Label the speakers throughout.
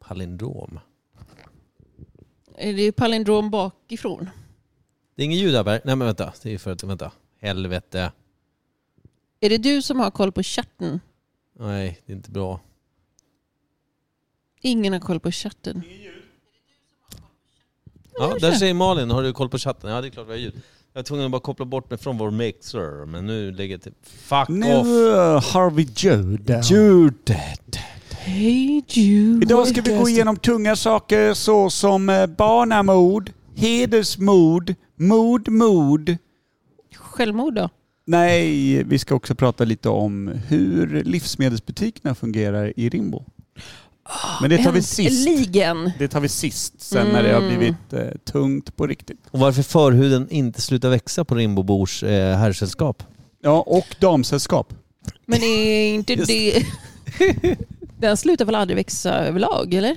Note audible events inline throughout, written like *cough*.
Speaker 1: Palindrom.
Speaker 2: Är det palindrom bakifrån?
Speaker 1: Det är ingen ljudabär. Nej men vänta. Det är för att, vänta. Helvete.
Speaker 2: Är det du som har koll på chatten?
Speaker 1: Nej, det är inte bra.
Speaker 2: Ingen har koll på chatten.
Speaker 1: Ja, där
Speaker 2: kanske.
Speaker 1: säger Malin, har du koll på chatten? Ja, det är klart vi har ljud. Jag var tvungen att bara koppla bort mig från vår mixer, men nu lägger jag till... Fuck
Speaker 3: Nu
Speaker 1: off!
Speaker 3: eh, har vi ljudet.
Speaker 1: Ljudet!
Speaker 2: Hej Jude.
Speaker 3: Idag ska vi gå igenom tunga saker såsom eh, barnamord, hedersmord, mord, mord.
Speaker 2: Självmord då?
Speaker 3: Nej, vi ska också prata lite om hur livsmedelsbutikerna fungerar i Rimbo. Men det tar vi sist.
Speaker 2: Äntligen.
Speaker 3: Det tar vi sist, sen när det har blivit eh, tungt på riktigt.
Speaker 1: Och varför förhuden inte slutar växa på Rimbobors eh, herrsällskap?
Speaker 3: Ja, och damsällskap.
Speaker 2: Men är inte
Speaker 1: Just.
Speaker 2: det... *laughs* Den slutar väl aldrig växa överlag, eller?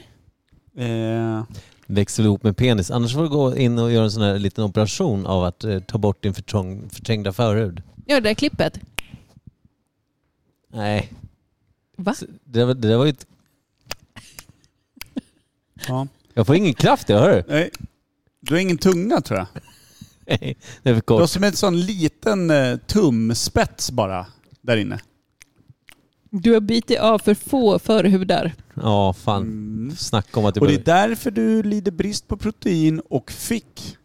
Speaker 3: Eh,
Speaker 1: Växer ihop med penis. Annars får du gå in och göra en sån här liten operation av att eh, ta bort din förtrång, förträngda förhud.
Speaker 2: Ja, det där klippet.
Speaker 1: Nej.
Speaker 2: Va?
Speaker 1: Så Det, där var- det där var ju ett...
Speaker 3: ja.
Speaker 1: Jag får ingen kraft, jag hör *laughs*
Speaker 3: Nej. Du har ingen tunga tror jag.
Speaker 1: Nej, det är för
Speaker 3: Du har
Speaker 1: kort.
Speaker 3: som en sån liten eh, tumspets bara där inne.
Speaker 2: Du har bitit av för få förhudar.
Speaker 1: Ja, fan. Snacka om att det,
Speaker 3: Mm. Och det är
Speaker 1: det,
Speaker 3: därför du lider brist på protein och fick.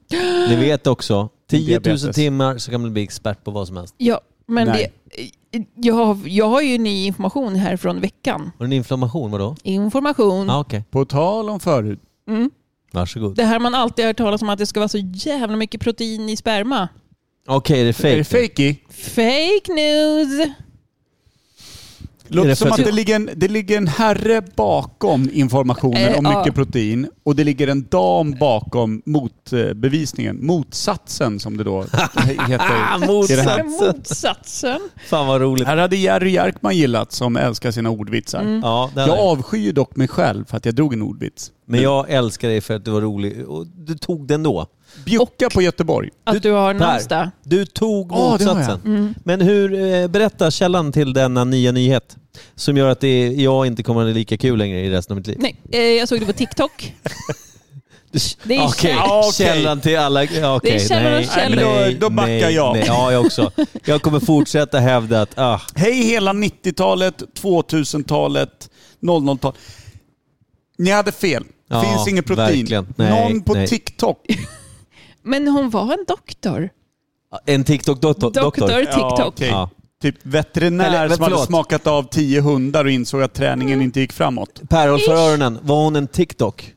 Speaker 1: Ni vet också, 10 000
Speaker 3: Diabetes.
Speaker 1: timmar så kan man bli expert på vad som helst.
Speaker 2: Ja, men det,
Speaker 3: Nej.
Speaker 2: jag, har, jag har ju ny information här från veckan.
Speaker 1: Har du en inflammation,
Speaker 3: Mm.
Speaker 1: vadå?
Speaker 2: Information.
Speaker 1: Ja, okej.
Speaker 3: På tal om förut.
Speaker 2: Mm.
Speaker 1: Varsågod.
Speaker 2: Det här man alltid har hört talas om att det ska vara så jävla mycket protein i sperma.
Speaker 1: Okej, det är fake.
Speaker 3: Är det fejky?
Speaker 2: Fake news!
Speaker 1: Är
Speaker 3: Låter
Speaker 1: det
Speaker 3: som
Speaker 1: för
Speaker 3: att
Speaker 1: att-
Speaker 3: det ligger, en, det ligger en herre bakom informationen
Speaker 2: Eh,
Speaker 3: om
Speaker 2: ja.
Speaker 3: mycket protein och det ligger en dam bakom motbevisningen. Motsatsen som
Speaker 1: *laughs*
Speaker 3: det då
Speaker 1: Ah,
Speaker 3: heter. i det här. Mm.
Speaker 1: motsatsen.
Speaker 2: Motsatsen.
Speaker 1: Fan vad roligt.
Speaker 3: här hade Jerry Jarkman gillat som älskar sina ordvitsar.
Speaker 2: Mm.
Speaker 1: Ja, det
Speaker 3: Jag
Speaker 1: hade jag.
Speaker 3: avskyr ju dock mig själv för att jag drog en ordvits.
Speaker 1: Men jag älskar dig för att du var rolig och du tog den då.
Speaker 3: Bjucka på Göteborg.
Speaker 2: Att du har
Speaker 1: Per.
Speaker 2: namnsdag.
Speaker 1: Du tog
Speaker 3: Ja, det har jag. Mm.
Speaker 1: motsatsen. Men hur, eh, berätta källan till denna nya nyhet som gör att det, jag inte kommer att ha lika kul längre i resten av mitt liv.
Speaker 2: Nej, eh, jag såg det på TikTok. Det är
Speaker 1: Okej,
Speaker 2: käll-
Speaker 3: Ja, okej.
Speaker 1: källan till alla... ja, Okej,
Speaker 2: Det är källan och
Speaker 1: nej,
Speaker 2: källan.
Speaker 1: nej,
Speaker 3: Då- då backar
Speaker 1: nej,
Speaker 3: jag.
Speaker 1: Nej, ja, jag också. Jag kommer fortsätta hävda att... Ah,
Speaker 3: Hej hela 90-talet, 2000-talet, 00-talet. Ni hade fel. Det
Speaker 1: Ja,
Speaker 3: finns inget protein.
Speaker 1: verkligen. Nej,
Speaker 3: Någon på
Speaker 1: nej.
Speaker 3: TikTok.
Speaker 2: Men hon var en doktor.
Speaker 1: en TikTok-doktor.
Speaker 2: Doktor TikTok.
Speaker 3: Ja, okej.
Speaker 1: Ja.
Speaker 3: Typ veterinär
Speaker 1: Eller,
Speaker 3: som hade
Speaker 1: förlåt.
Speaker 3: smakat av tio hundar och insåg att träningen inte gick framåt.
Speaker 1: Per, håll för
Speaker 2: Ish.
Speaker 1: öronen. Var hon en TikTok?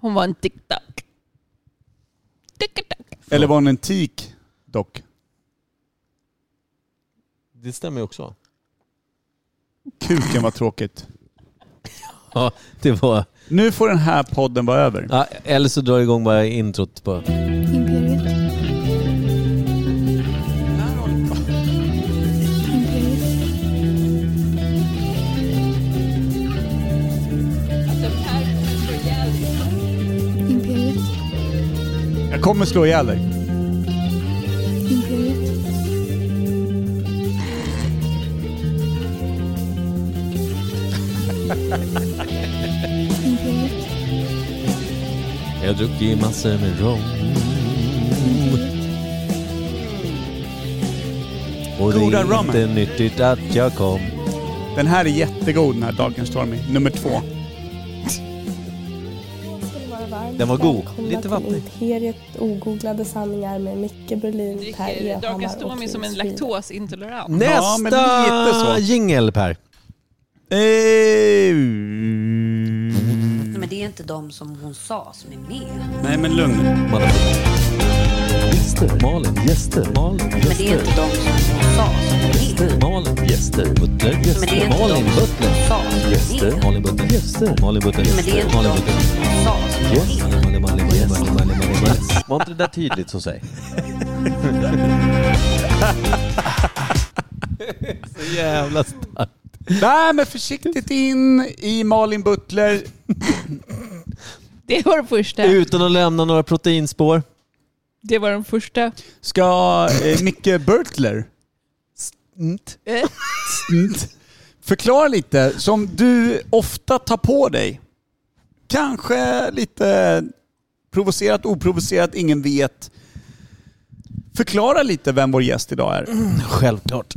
Speaker 2: Hon var en TikTok. TikTok.
Speaker 3: Eller var hon en tik dock?
Speaker 1: Det stämmer ju också.
Speaker 3: Kuken var tråkigt.
Speaker 1: Ja, det var...
Speaker 3: Nu får den här podden vara över.
Speaker 1: Ja, eller så drar jag igång bara introt på...
Speaker 4: Imperiet. Imperiet. Imperiet.
Speaker 3: Jag kommer slå ihjäl dig.
Speaker 4: Imperiet. Imperiet.
Speaker 1: Jag har druckit massor med rom. Och det
Speaker 3: Goda
Speaker 1: är inte
Speaker 3: rommen.
Speaker 1: nyttigt att jag kom.
Speaker 3: Den här är jättegod den här Dagens Stormy. Nummer två.
Speaker 1: Den var god.
Speaker 5: Välkomna
Speaker 1: Lite
Speaker 5: till
Speaker 1: vattnig.
Speaker 5: Imperiet ogooglade sanningar med Micke Berlin, Per
Speaker 2: Dricker
Speaker 5: Evhammar
Speaker 2: Darkest
Speaker 5: och
Speaker 2: Stormy
Speaker 5: Nils
Speaker 2: som en
Speaker 5: Frid.
Speaker 2: laktosintolerant.
Speaker 3: Ja, men lite
Speaker 1: Nästa
Speaker 3: så.
Speaker 1: jingel Per.
Speaker 3: Eh,
Speaker 6: Men det
Speaker 1: Mm.
Speaker 6: är inte de som hon sa som är med.
Speaker 3: Nej men lugn.
Speaker 1: Gäster, Malin, gäster, Malin,
Speaker 6: Men det är inte de som hon sa som är med.
Speaker 1: Malin, gäster, Butler,
Speaker 6: Men det är
Speaker 1: gäster,
Speaker 6: inte de
Speaker 1: Malin,
Speaker 6: som
Speaker 1: Butler.
Speaker 6: hon sa som är
Speaker 1: Gäster,
Speaker 6: med.
Speaker 1: Malin, Butler, gäster, Malin, Butler,
Speaker 6: Men det är
Speaker 1: gäster,
Speaker 6: inte
Speaker 1: Malin,
Speaker 6: de
Speaker 1: Butler.
Speaker 6: som hon sa som är med.
Speaker 1: Var inte det där tydligt så *laughs* säg? så jävla starkt.
Speaker 3: Nej men försiktigt in i Malin Butler.
Speaker 2: Det var den första.
Speaker 1: Utan att lämna några proteinspår.
Speaker 2: Det var den första.
Speaker 3: Ska eh, Micke Bertler
Speaker 1: Mm.
Speaker 2: Eh,
Speaker 3: Förklara lite, som du ofta tar på dig. Kanske lite provocerat, oprovocerat, ingen vet. Förklara lite vem vår gäst idag är.
Speaker 1: Självklart.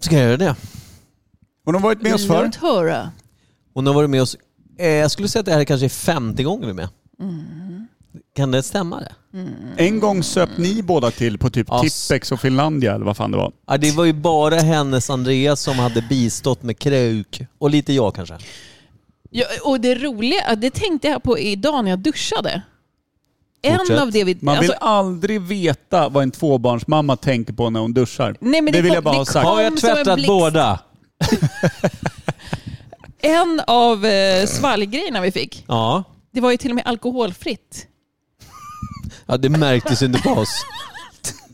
Speaker 1: Ska jag göra det?
Speaker 3: Hon har varit med oss förr.
Speaker 2: Låt höra.
Speaker 1: Hon har varit med oss, eh, jag skulle säga att det här är kanske är femte gången vi är med. Kan det stämma det?
Speaker 3: En gång söp ni båda till på typ
Speaker 1: Ja, s-
Speaker 3: Tippex och Finlandia eller vad fan det var.
Speaker 1: Ja, det var ju bara hennes Andreas som hade bistått med krök. Och lite jag kanske.
Speaker 2: Ja, och det roliga, det tänkte jag på idag när jag duschade. En
Speaker 1: Fortsätt.
Speaker 2: av det vi...
Speaker 3: Man vill
Speaker 2: alltså,
Speaker 3: aldrig veta vad en tvåbarnsmamma tänker på när hon duschar.
Speaker 2: Nej, men
Speaker 3: det
Speaker 2: det
Speaker 3: vill
Speaker 2: kom-
Speaker 3: jag bara
Speaker 2: det
Speaker 3: ha sagt.
Speaker 2: kom-
Speaker 1: Har jag
Speaker 2: som en
Speaker 1: tvättat
Speaker 2: blixt.
Speaker 1: båda?
Speaker 2: en av eh, svalggrejerna vi fick,
Speaker 1: Ja.
Speaker 2: det var ju till och med alkoholfritt.
Speaker 1: ja, det märktes inte på oss.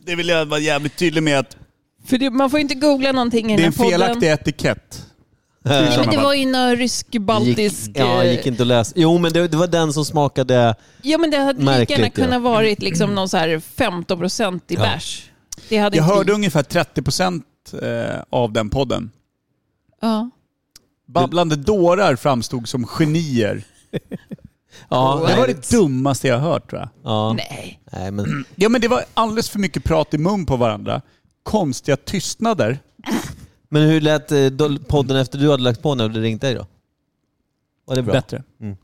Speaker 3: Det vill jag vara jävligt tydlig med att
Speaker 2: För det, man får ju inte googla någonting i
Speaker 3: det är
Speaker 2: den
Speaker 3: en
Speaker 2: här podden.
Speaker 3: felaktig etikett.
Speaker 2: Nej, men det
Speaker 3: sammanhang.
Speaker 2: var ju någon
Speaker 1: Gick,
Speaker 2: rysk-baltisk...
Speaker 1: ja,
Speaker 2: eh,
Speaker 1: gick inte att läsa. Jo, men det, det var den som smakade...
Speaker 2: Ja, men det hade lika
Speaker 1: Märkligt,
Speaker 2: gärna
Speaker 1: ja.
Speaker 2: kunnat varit liksom någon så här 15% i
Speaker 1: Ja.
Speaker 2: bärs. Det hade
Speaker 3: Jag
Speaker 2: inte
Speaker 3: hörde
Speaker 2: vi.
Speaker 3: ungefär 30 procent eh, av den podden.
Speaker 2: Ja.
Speaker 3: Babblande dårar framstod som genier.
Speaker 1: Ja,
Speaker 3: Det
Speaker 1: nej,
Speaker 3: var det dummaste jag hört tror jag.
Speaker 1: ja.
Speaker 2: Nej.
Speaker 1: Nej, men
Speaker 3: Ja men det var alldeles för mycket prat i mun på varandra. Konstiga tystnader.
Speaker 1: Men hur lät eh, då- podden efter du hade lagt på när du ringt dig då? Var det bra?
Speaker 3: Bättre.
Speaker 1: Mm.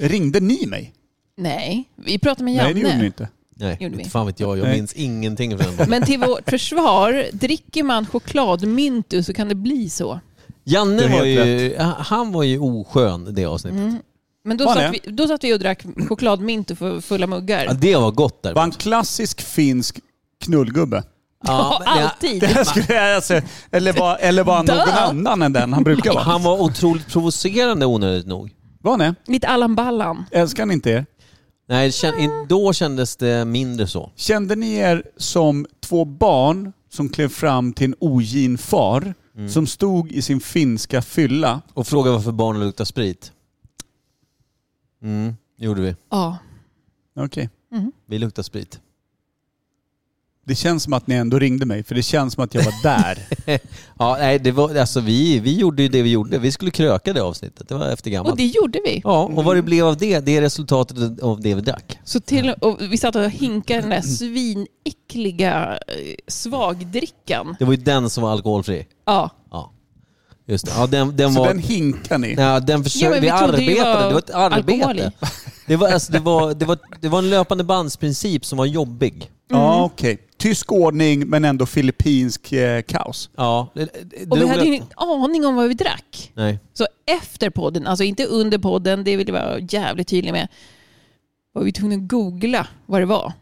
Speaker 3: Ringde ni mig?
Speaker 2: Nej, vi pratade med Janne.
Speaker 3: Nej det gjorde ni inte.
Speaker 1: Nej,
Speaker 2: Gjorde vi.
Speaker 1: inte fan vet jag. Jag
Speaker 3: Nej.
Speaker 1: minns ingenting från den.
Speaker 2: Men till
Speaker 3: *laughs*
Speaker 2: vårt försvar, dricker man chokladmyntu så kan det bli så.
Speaker 1: Janne
Speaker 3: Du har
Speaker 1: var
Speaker 3: helt
Speaker 1: ju, han var ju oskön det avsnittet.
Speaker 2: Mm. Men då
Speaker 3: Var
Speaker 2: satt,
Speaker 3: det?
Speaker 2: vi, då satt vi och drack chokladmyntu för fulla muggar.
Speaker 1: Ja, det var gott där.
Speaker 3: Var en klassisk finsk knullgubbe.
Speaker 2: Ja,
Speaker 1: men det-
Speaker 2: alltid.
Speaker 3: Det här skulle jag säga. Eller var, eller var han någon
Speaker 2: Dö.
Speaker 3: annan än den han brukar vara?
Speaker 1: Han var otroligt provocerande onödigt nog.
Speaker 3: Var ni?
Speaker 2: Lite Allan Ballan.
Speaker 3: Älskar han inte er?
Speaker 1: Nej, det kän, i- då kändes det mindre så.
Speaker 3: Kände ni er som två barn som klev fram till en ogin far
Speaker 1: Mm.
Speaker 3: som stod i sin finska fylla?
Speaker 1: Och fråga varför barnen luktar sprit. Mm, gjorde vi.
Speaker 2: Ja.
Speaker 3: Okej.
Speaker 1: Vi luktar sprit.
Speaker 3: Det känns som att ni ändå ringde mig för det känns som att jag
Speaker 1: *laughs*
Speaker 3: var där.
Speaker 1: Ja, nej, det var, alltså vi, vi gjorde ju det vi gjorde. Vi skulle kröka det avsnittet. Det var efter gammalt.
Speaker 2: Och det gjorde vi.
Speaker 1: Ja, och vad det blev av det, det är resultatet av det vi drack.
Speaker 2: Så till, och vi satt och hinkade den där svinäckliga eh, svagdrickan.
Speaker 1: Det var ju den som var alkoholfri.
Speaker 2: Ja.
Speaker 1: Ja, just det. Ja, den, den
Speaker 3: Så
Speaker 1: var...
Speaker 3: den hinkar ni.
Speaker 1: Ja, den
Speaker 2: Ja,
Speaker 1: försökte,
Speaker 2: men
Speaker 1: vi,
Speaker 2: vi trodde ju
Speaker 1: arbetade,
Speaker 2: var
Speaker 1: det var ett
Speaker 2: alkohol
Speaker 1: arbete.
Speaker 2: i.
Speaker 1: Det var, alltså, det, var, det, var, det var en löpande bandsprincip som var jobbig. Mm.
Speaker 3: Ja, okej. Tysk ordning men ändå filippinsk eh, kaos.
Speaker 1: Ja, det, det,
Speaker 2: Och vi hade
Speaker 1: roliga-
Speaker 2: ju ingen aning om vad vi drack.
Speaker 1: Nej.
Speaker 2: Så efter podden, alltså inte under podden, det vill jag vara jävligt tydlig med, var vi tvungna att googla vad det var.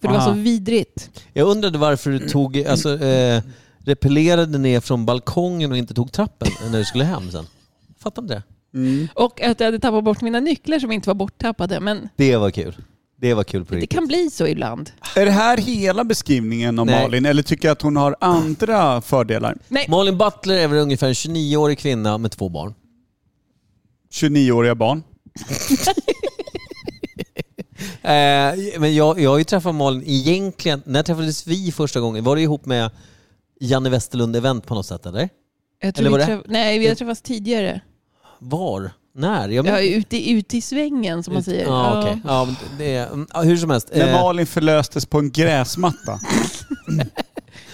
Speaker 2: För det
Speaker 3: Aha.
Speaker 2: var så vidrigt.
Speaker 1: Jag undrade varför du tog, alltså, eh, repellerade ner från balkongen och inte tog trappen när du skulle hem sen. Fattar inte det.
Speaker 2: Och att jag hade tappat bort mina nycklar som inte var borttappade. Men
Speaker 1: Det var kul. Det var kul på
Speaker 2: det
Speaker 1: riktigt.
Speaker 2: kan bli så ibland.
Speaker 3: Är det här hela beskrivningen om
Speaker 1: Nej.
Speaker 3: Malin eller tycker jag att hon har andra fördelar?
Speaker 2: Nej,
Speaker 1: Malin Butler är väl ungefär en 29-årig kvinna med två barn.
Speaker 3: 29-åriga barn.
Speaker 1: Eh, men jag, jag har ju träffat Malin egentligen, när träffades vi första gången? Var det ihop med Janne Westerlund event på något sätt eller?
Speaker 2: jag tror
Speaker 1: Eller var
Speaker 2: vi
Speaker 1: det-
Speaker 2: träff- Nej, vi har träffats tidigare.
Speaker 1: Var? När? Jag
Speaker 2: Ja, ute, ute i svängen som man säger.
Speaker 1: Ja,
Speaker 2: Ja.
Speaker 1: okej. ja, men det, mm, ja, hur som helst.
Speaker 3: När
Speaker 1: Eh,
Speaker 3: Malin förlöstes på en gräsmatta.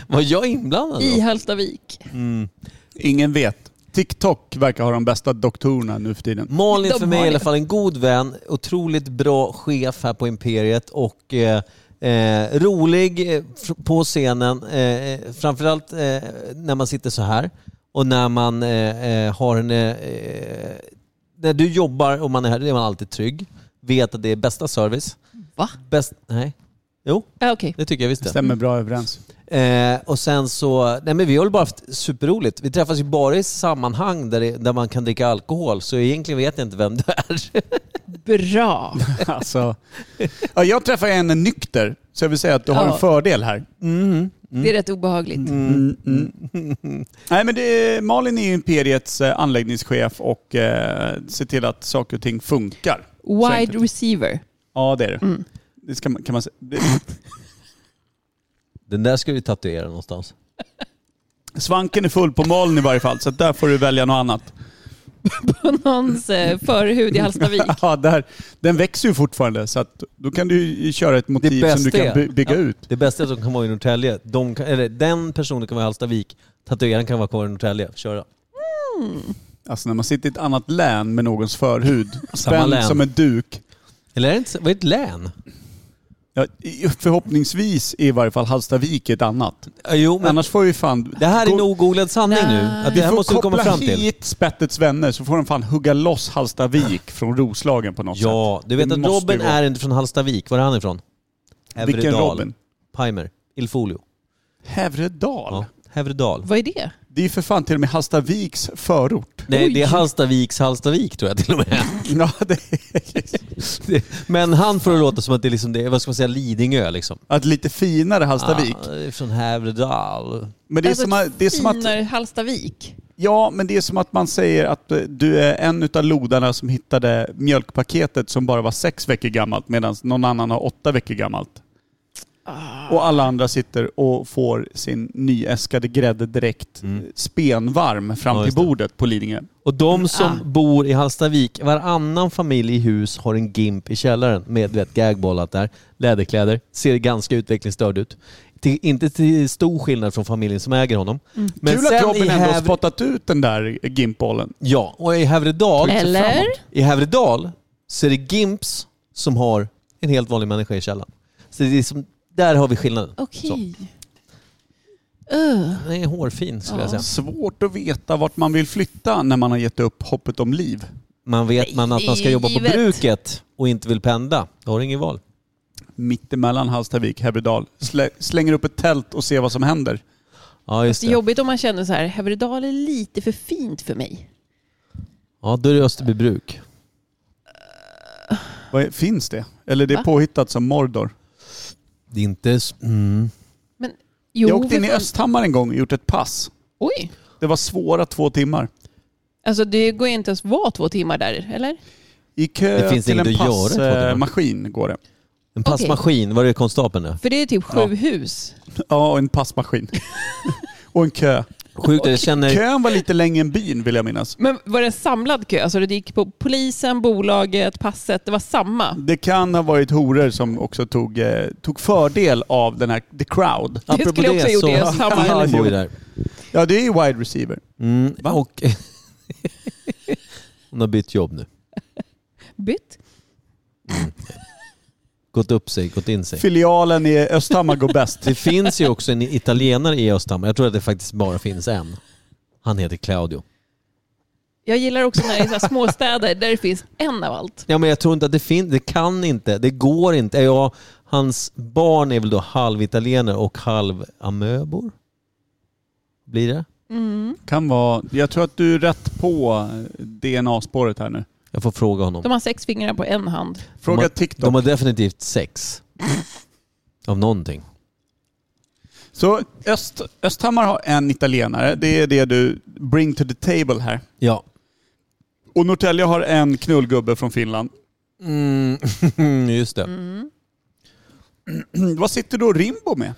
Speaker 1: var jag inblandad
Speaker 2: I
Speaker 1: då?
Speaker 2: Hallstavik.
Speaker 3: Ingen vet. TikTok verkar ha de bästa doktorerna nu för tiden.
Speaker 1: Malin
Speaker 2: De
Speaker 1: för mig
Speaker 2: har
Speaker 1: är i
Speaker 2: det.
Speaker 1: alla fall en god vän, otroligt bra chef här på Imperiet och eh, eh, rolig eh, fr- på scenen. Eh, framförallt eh, när man sitter så här och när man eh, eh, har en... Eh, eh, när du jobbar och man är här, då är man alltid trygg. Vet att det är bästa service.
Speaker 2: Va?
Speaker 1: Bäst, nej. Jo,
Speaker 2: Ja, Okej.
Speaker 1: det tycker jag visst det.
Speaker 3: Stämmer bra överens.
Speaker 1: Eh, och sen så, nej men vi har väl bara haft superroligt. Vi träffas ju bara i sammanhang där, det, där man kan dricka alkohol, så egentligen vet jag inte vem du är.
Speaker 2: Bra.
Speaker 3: Alltså, ja, jag träffar en nykter, så jag vill säga att du har
Speaker 2: Ja.
Speaker 3: en fördel här.
Speaker 1: Mm.
Speaker 3: Mm.
Speaker 2: Det är rätt obehagligt.
Speaker 3: *laughs* Nej, men det, Malin är ju Imperiets eh, anläggningschef och eh, ser till att saker och ting funkar. Så
Speaker 2: Wide
Speaker 3: enkelt.
Speaker 2: receiver.
Speaker 3: Ja, det är det.
Speaker 1: Mm.
Speaker 3: Det ska man, kan man säga. Det,
Speaker 1: Den där ska vi tatuera någonstans.
Speaker 3: svanken är full på Malin i varje fall, så att där får du välja något annat. *laughs*
Speaker 2: på någons
Speaker 3: Mm.
Speaker 2: eh, förhud i
Speaker 3: *laughs*
Speaker 2: Hallstavik.
Speaker 3: Ja, där, den växer ju fortfarande så att då kan du ju köra ett motiv som du
Speaker 1: bästa
Speaker 3: kan
Speaker 1: är-
Speaker 3: by- bygga
Speaker 1: ja,
Speaker 3: ut.
Speaker 1: Det bästa är att de kan vara i Norrtälje. De kan, eller, den personen kan vara i Hallstavik. Tatueraren kan vara kvar i Norrtälje. Köra.
Speaker 3: Alltså när man sitter i ett annat län med någons förhud,
Speaker 1: Samma
Speaker 3: spänd
Speaker 1: län.
Speaker 3: som en duk.
Speaker 1: Eller är det inte, vad är ett län?
Speaker 3: Ja, i- förhoppningsvis är i varje fall Hallstavik ett annat.
Speaker 1: Ja, Jo, men
Speaker 3: Annars får vi fan...
Speaker 1: det här är
Speaker 3: Gå-
Speaker 1: en ogooglad sanning nu. Att det
Speaker 3: Vi
Speaker 1: här
Speaker 3: får
Speaker 1: måste vi komma
Speaker 3: koppla
Speaker 1: fram till.
Speaker 3: hit Spettets vänner så får de fan hugga loss Hallstavik från Roslagen på något
Speaker 1: Ja,
Speaker 3: sätt.
Speaker 1: du vet
Speaker 3: Det
Speaker 1: att
Speaker 3: måste
Speaker 1: Robin
Speaker 3: gå.
Speaker 1: är inte från Hallstavik. Var är han ifrån?
Speaker 3: Vilken
Speaker 1: Hävredal.
Speaker 3: Robin?
Speaker 1: Pimer. Ilfolio.
Speaker 3: Hävredal?
Speaker 1: Ja. Hävredal.
Speaker 2: Vad är det?
Speaker 3: Det är ju för fan till och med Hallstaviks förort. *laughs*
Speaker 1: Nej, det är
Speaker 2: Oj.
Speaker 1: Hallstaviks Hallstavik tror jag till och med.
Speaker 3: Ja, det är...
Speaker 1: Det- Men han får det låta som att det är, liksom, det är vad ska man säga, Lidingö liksom.
Speaker 3: Att lite finare Hallstavik.
Speaker 1: Ah, från Hävredal.
Speaker 3: Men det är,
Speaker 2: Alltså,
Speaker 3: som att, det är som att...
Speaker 2: finare Hallstavik.
Speaker 3: Ja, men det är som att man säger att eh, du är en utav lodarna som hittade mjölkpaketet som bara var sex veckor gammalt medan någon annan har åtta veckor gammalt.
Speaker 1: Ah.
Speaker 3: Och alla andra sitter och får sin nyäskade grädde direkt eh, spenvarm fram
Speaker 1: Mm. Ja,
Speaker 3: till
Speaker 1: just det.
Speaker 3: bordet på Lidingö.
Speaker 1: Och de som bor i Hallstavik, varannan familj i hus har en GIMP i källaren med du vet, gagbollat där, läderkläder, ser ganska utvecklingsstörd ut. Till, inte till stor skillnad från familjen som äger honom. Men
Speaker 3: Kul att Robin
Speaker 1: i
Speaker 3: ändå har
Speaker 1: Häver-
Speaker 3: spottat ut den där gimpbollen.
Speaker 1: Ja, och i Hävredal,
Speaker 2: Eller?
Speaker 1: i Hävredal så är det GIMPs som har en helt vanlig människa i källaren. Så det är som, där har vi skillnaden. Så.
Speaker 2: Okej. Öh,
Speaker 1: Den är hårfin skulle jag
Speaker 2: Ja.
Speaker 1: säga.
Speaker 3: Svårt att veta vart man vill flytta när man har gett upp hoppet om liv.
Speaker 1: Man vet man att man ska jobba på
Speaker 2: Givet.
Speaker 1: bruket och inte vill pendla, då har du ingen val.
Speaker 3: Mittemellan Hallstavik, Hävredal. Slä, slänger upp ett tält och ser vad som händer.
Speaker 1: Ja, just
Speaker 2: det är
Speaker 1: det.
Speaker 2: jobbigt om man känner så här, Hävredal är lite för fint för mig.
Speaker 1: Ja, då är det Österbybruk.
Speaker 3: Vad är, finns det? Eller det är
Speaker 2: Va?
Speaker 3: påhittat som Mordor.
Speaker 1: Det är inte... s- Mm.
Speaker 2: Men, jo,
Speaker 3: jag åkte in
Speaker 2: för
Speaker 3: i
Speaker 2: fan.
Speaker 3: Östhammar en gång och gjort ett pass.
Speaker 2: Oj.
Speaker 3: Det var svåra två timmar.
Speaker 2: Alltså det går ju inte ens vara två timmar där, eller?
Speaker 3: I kö
Speaker 1: Det finns
Speaker 3: till
Speaker 1: inget
Speaker 3: en
Speaker 1: att göra i två timmar.
Speaker 3: passmaskin eh, går det.
Speaker 1: En passmaskin, var är det konstapeln nu?
Speaker 2: För det är typ sju
Speaker 3: Ja.
Speaker 2: hus.
Speaker 3: Ja, och en passmaskin. *laughs* och en kö.
Speaker 1: Sjukt, jag känner...
Speaker 3: Kön var lite längre än byn vill jag minnas.
Speaker 2: Men var det en samlad kö? Alltså det gick på polisen, bolaget, passet. Det var samma.
Speaker 3: Det kan ha varit horor som också tog, eh, tog fördel av den här the crowd.
Speaker 2: skulle jag också ha gjort i Östhammar.
Speaker 1: Ellen bor ju där.
Speaker 3: Ja, det är ju wide receiver.
Speaker 1: Mm, och... *laughs* Hon har bytt jobb nu.
Speaker 2: Bytt.
Speaker 1: Gått upp sig, gått in sig.
Speaker 3: Filialen i Östhammar går bäst.
Speaker 1: *laughs* Det finns ju också en italienare i Östhammar. Jag tror att det faktiskt bara finns en. Han heter Claudio.
Speaker 2: Jag gillar också när det är så här *laughs* småstäder där det finns en av allt.
Speaker 1: Ja, men jag tror inte att det finns. Det kan inte. Det går inte. Ja, hans barn är väl då halvitalienare och halvamöbor? Blir det?
Speaker 3: Kan vara, jag tror att du är rätt på eh, DNA-spåret här nu.
Speaker 1: Jag får fråga honom.
Speaker 2: De har sex fingrar på en hand.
Speaker 1: De
Speaker 3: Fråga
Speaker 1: har-
Speaker 3: TikTok.
Speaker 1: De har definitivt sex. Av någonting.
Speaker 3: Så Öst, Östhammar har en italienare, det är det du bring to the table här.
Speaker 1: Ja.
Speaker 3: Och Norrtälje har en knullgubbe från Finland. *clears throat*
Speaker 1: Mm, *laughs* just det.
Speaker 3: Vad sitter då Rimbo med?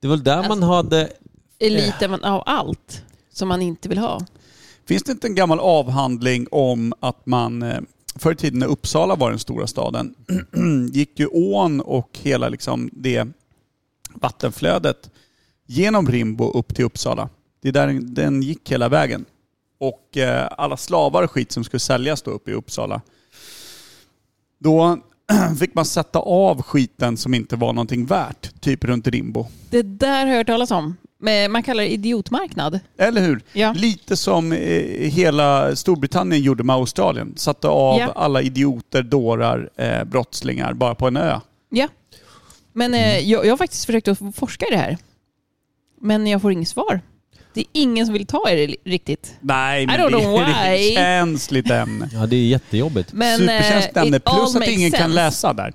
Speaker 1: Det var väl där man hade...
Speaker 2: Eliten av allt som man inte vill ha.
Speaker 3: Finns det inte en gammal avhandling om att man eh, förr i tiden när Uppsala var den stora staden *clears throat* gick ju ån och hela liksom det vattenflödet genom Rimbo upp till Uppsala. Det är där den- den gick hela vägen. Och eh, alla slavar och skit som skulle säljas då uppe i Uppsala. Då *clears throat* fick man sätta av skiten som inte var någonting värt, typ runt Rimbo.
Speaker 2: Det där har jag hört talas om. Men Man kallar det idiotmarknad.
Speaker 3: Eller hur?
Speaker 2: Ja.
Speaker 3: Lite som eh, hela Storbritannien gjorde med Australien. Satte av
Speaker 2: Ja.
Speaker 3: alla idioter, dårar, eh, brottslingar bara på en ö.
Speaker 2: Ja. Men eh, jag, jag har faktiskt försökt att forska i det här. Men jag får inget svar. Det är ingen som vill ta i det riktigt.
Speaker 3: Nej, men
Speaker 2: I don't
Speaker 3: det
Speaker 2: know
Speaker 3: är ett
Speaker 2: why.
Speaker 3: känsligt ämne.
Speaker 1: Ja, det är jättejobbigt.
Speaker 2: Men, eh,
Speaker 3: Superkänsligt ämne.
Speaker 2: it all
Speaker 3: Plus att
Speaker 2: makes
Speaker 3: ingen kan
Speaker 2: sense.
Speaker 3: läsa där.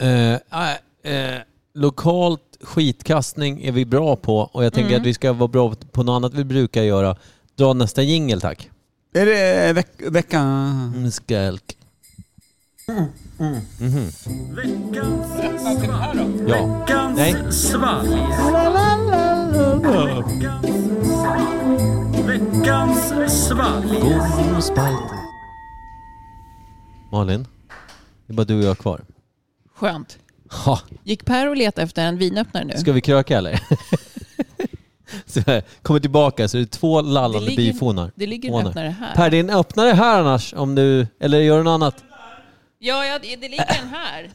Speaker 1: Eh, eh, lokalt skitkastning är vi bra på och jag tänker att vi ska vara bra på något annat vi brukar göra. Dra nästa jingel tack.
Speaker 3: Är det eh, veck veckan?
Speaker 1: Mm, Skälk. Mm,
Speaker 7: Mm-hmm.
Speaker 1: Veckans svalg. Ja. Nej.
Speaker 7: Veckans svalg.
Speaker 1: Malin, det är bara du och jag kvar.
Speaker 2: Skönt.
Speaker 1: Ha,
Speaker 2: Gick Per och letade efter en vinöppnare nu?
Speaker 1: ska vi kröka
Speaker 2: *laughs*
Speaker 1: eller? Så här, Kommer tillbaka så är det två lallande
Speaker 2: ligger-
Speaker 1: bifånar.
Speaker 2: Det ligger en
Speaker 1: Fånar.
Speaker 2: öppnare här.
Speaker 1: Per, det är en öppnare här annars om du... Eller gör du något annat?
Speaker 2: Ja, ja, det det ligger en här.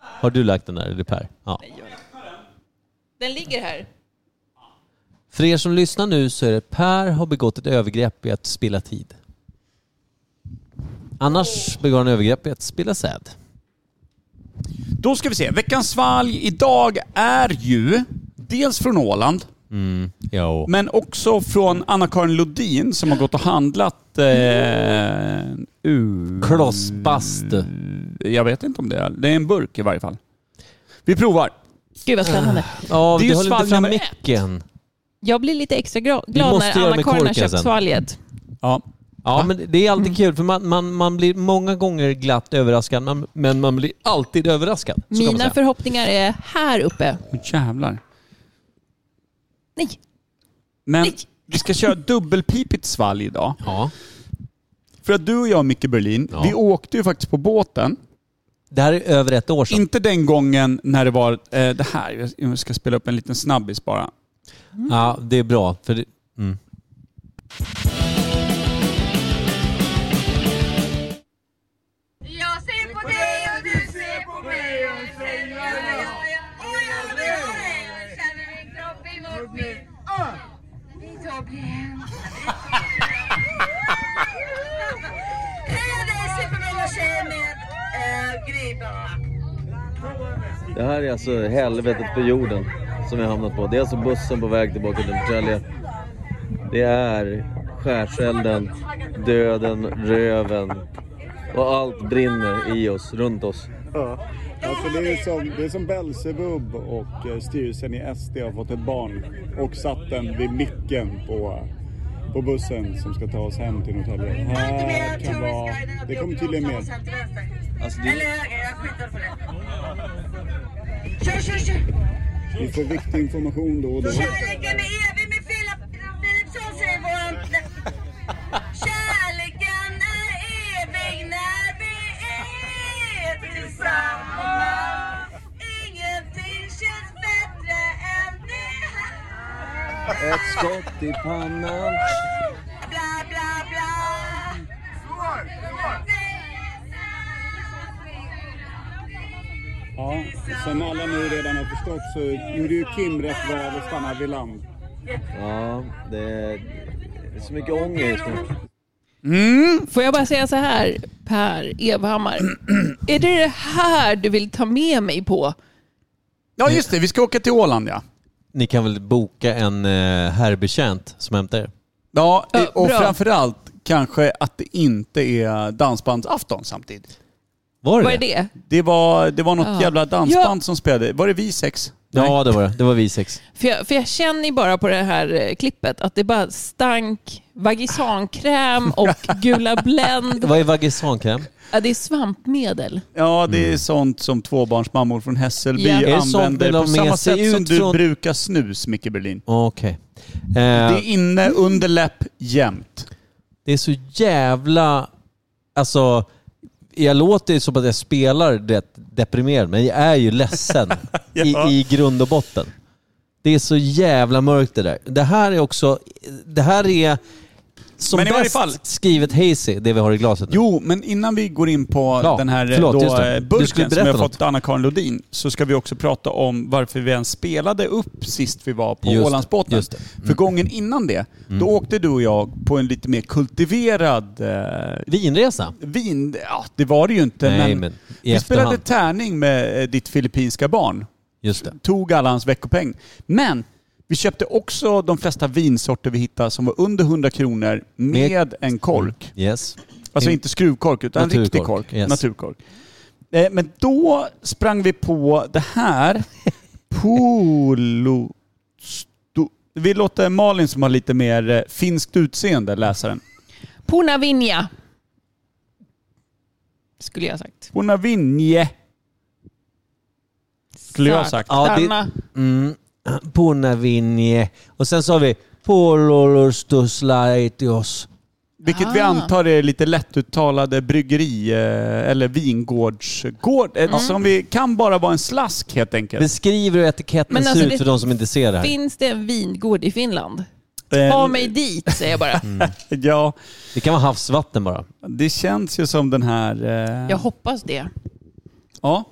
Speaker 1: Har du lagt den där? Är det Per? Ja.
Speaker 2: Den ligger här.
Speaker 1: För er som lyssnar nu så är det Per har begått ett övergrepp i att spilla tid. Annars begår han övergrepp i att spilla säd.
Speaker 3: Då ska vi se. Veckans svalg idag är ju dels från Åland,
Speaker 1: Jo.
Speaker 3: men också från Anna-Karin Lodin som har gått och handlat... Eh, ur-
Speaker 1: Klossbastu.
Speaker 3: Jag vet inte om det är... Det är en burk i varje fall. Vi provar.
Speaker 2: Gud vad spännande.
Speaker 1: Ja,
Speaker 3: Det är
Speaker 1: du
Speaker 3: ju
Speaker 1: håller inte
Speaker 3: svalg
Speaker 1: fram
Speaker 3: nummer
Speaker 1: micken.
Speaker 2: Jag blir lite extra gra- glad
Speaker 1: måste
Speaker 2: när
Speaker 1: göra med
Speaker 2: Anna-Karin har
Speaker 1: korken
Speaker 2: köpt
Speaker 1: sen.
Speaker 2: svalget.
Speaker 3: Ja.
Speaker 1: Ja, men det är alltid kul för man, man, man blir många gånger glatt överraskad men- men man blir alltid överraskad. Så kan man
Speaker 2: Mina
Speaker 1: säga.
Speaker 2: förhoppningar är här uppe.
Speaker 3: Men jävlar.
Speaker 2: Nej,
Speaker 3: Men
Speaker 2: Nej.
Speaker 3: vi ska köra dubbelpipigt svalg idag.
Speaker 1: Ja.
Speaker 3: För att du och jag, Micke Berlin,
Speaker 1: Ja.
Speaker 3: vi åkte ju faktiskt på båten.
Speaker 1: Det här är över ett år sedan.
Speaker 3: Inte den gången när det var eh, det här. Jag ska spela upp en liten snabbis bara.
Speaker 1: Ja, det är bra. För det, mm.
Speaker 8: Jag ser på dig och du ser på mig och jag känner jag, jag, jag, och jag ser på dig och jag känner min kropp emot min. Åh! Min kropp igen. *laughs* Jag är superman och tjejer med eh, griparna.
Speaker 1: Det här är alltså helvetet på jorden som jag hamnat på. Det är alltså bussen på väg tillbaka till Norrtälje. Det är skärselden, döden, röven och allt brinner i oss, runt oss.
Speaker 9: Alltså det, är som, det är som Belsebub och eh, styrelsen i SD har fått ett barn och satt den vid micken på, på bussen som ska ta oss hem till Norrtälje. Här kan vara... Det kommer tydligen med.
Speaker 8: Alltså det... Eller höger, jag skitar på det. Kör, kör, kör!
Speaker 9: Vi får viktig information då och då.
Speaker 8: Kärleken är evig med Filip Philipsson säger våran... Kärleken är evig när vi är tillsammans. Ingenting känns bättre än det här.
Speaker 1: Ett skott i pannan.
Speaker 8: Bla, bla, bla.
Speaker 9: Ja, som alla nu redan har förstått så gjorde ju Kim rätt val att stanna vid land.
Speaker 1: Ja, det är så mycket ångest nu.
Speaker 2: Får jag bara säga så här, Per Evhammar. är det det här du vill ta med mig på?
Speaker 3: Ja just det, vi ska åka till Åland ja.
Speaker 1: Ni kan väl boka en eh, herrbetjänt som hämtar er?
Speaker 3: Ja,
Speaker 2: Ja,
Speaker 3: eh, och
Speaker 2: bra.
Speaker 3: framförallt kanske att det inte är dansbandsafton samtidigt.
Speaker 1: Var det
Speaker 2: Vad är det?
Speaker 3: Det var, det var något
Speaker 2: Ja.
Speaker 3: jävla dansband
Speaker 2: Ja.
Speaker 3: som spelade. Var det vi sex? Nej.
Speaker 1: Ja, det var det. Det var vi sex.
Speaker 2: För jag, för jag känner ju bara på det här eh, klippet att det bara stank vagisankräm och gula Blend.
Speaker 1: Vad är vagisankräm?
Speaker 2: Ja, det är svampmedel.
Speaker 3: Ja, det är sånt som tvåbarnsmammor från Hässelby
Speaker 2: Ja. Är det
Speaker 1: sånt
Speaker 3: använder
Speaker 1: vill
Speaker 3: på
Speaker 1: de med
Speaker 3: samma
Speaker 1: sig
Speaker 3: sätt som
Speaker 1: ut
Speaker 3: du
Speaker 1: från-
Speaker 3: brukar snus, Micke Berlin.
Speaker 1: Okej.
Speaker 3: Det
Speaker 1: Eh,
Speaker 3: är inne, under läpp, jämt.
Speaker 1: Det är så jävla... Alltså, jag låter ju som att jag spelar det deprimerad, men jag är ju ledsen
Speaker 3: *laughs* Ja.
Speaker 1: i, i grund och botten. Det är så jävla mörkt det där. Det här är också... Det här är som
Speaker 3: Men i varje
Speaker 1: bäst
Speaker 3: fall-
Speaker 1: skrivet hazy, det vi har i glaset nu.
Speaker 3: Jo, men innan vi går in på
Speaker 1: Ja,
Speaker 3: den här eh,
Speaker 1: förlåt,
Speaker 3: då,
Speaker 1: just det.
Speaker 3: eh,
Speaker 1: Du skulle
Speaker 3: burken som
Speaker 1: berätta
Speaker 3: jag har fått
Speaker 1: något.
Speaker 3: av Anna-Karin Lodin så ska vi också prata om varför vi ens spelade upp sist vi var på
Speaker 1: Just det,
Speaker 3: Ålandsbåten.
Speaker 1: just det. Mm.
Speaker 3: För gången innan det, då åkte du och jag på en lite mer kultiverad eh,
Speaker 1: Vinresa.
Speaker 3: vin... Ja, det var det ju inte,
Speaker 1: Nej,
Speaker 3: men
Speaker 1: men i
Speaker 3: vi spelade
Speaker 1: efterhand.
Speaker 3: tärning med eh, ditt filippinska barn.
Speaker 1: Just det.
Speaker 3: Tog alla hans veckopeng. Men vi köpte också de flesta vinsorter vi hittade som var under 100 kronor med,
Speaker 1: Med-
Speaker 3: en kork.
Speaker 1: Yes.
Speaker 3: Alltså inte skruvkork utan en
Speaker 1: Naturkork,
Speaker 3: riktig kork.
Speaker 1: yes.
Speaker 3: Naturkork. Eh, Men då sprang vi på det
Speaker 1: *laughs*
Speaker 3: här. Polo... sto- Vi låter Malin som har lite mer eh, finskt utseende läsa den.
Speaker 2: Puna vinja. Skulle jag ha sagt.
Speaker 3: Punavinje. Skulle jag ha sagt.
Speaker 1: Ja, det-
Speaker 2: Stanna.
Speaker 1: Mm. Punavinje. Och sen så har vi Pololorstuslaitios.
Speaker 3: Vilket
Speaker 2: Ah.
Speaker 3: vi antar är lite lättuttalade bryggeri eh, eller vingårdsgård. eh, Som vi kan bara vara en slask helt enkelt.
Speaker 1: Beskriv hur etiketten
Speaker 2: Men
Speaker 1: ser
Speaker 2: alltså
Speaker 1: ut
Speaker 2: det-
Speaker 1: för de som inte ser det här.
Speaker 2: Finns det en vingård i Finland?
Speaker 3: Eh,
Speaker 2: Ta mig dit, säger jag bara.
Speaker 3: Ja,
Speaker 1: Det kan vara havsvatten bara.
Speaker 3: det känns ju som den här... eh,
Speaker 2: Jag hoppas det.
Speaker 3: Ja.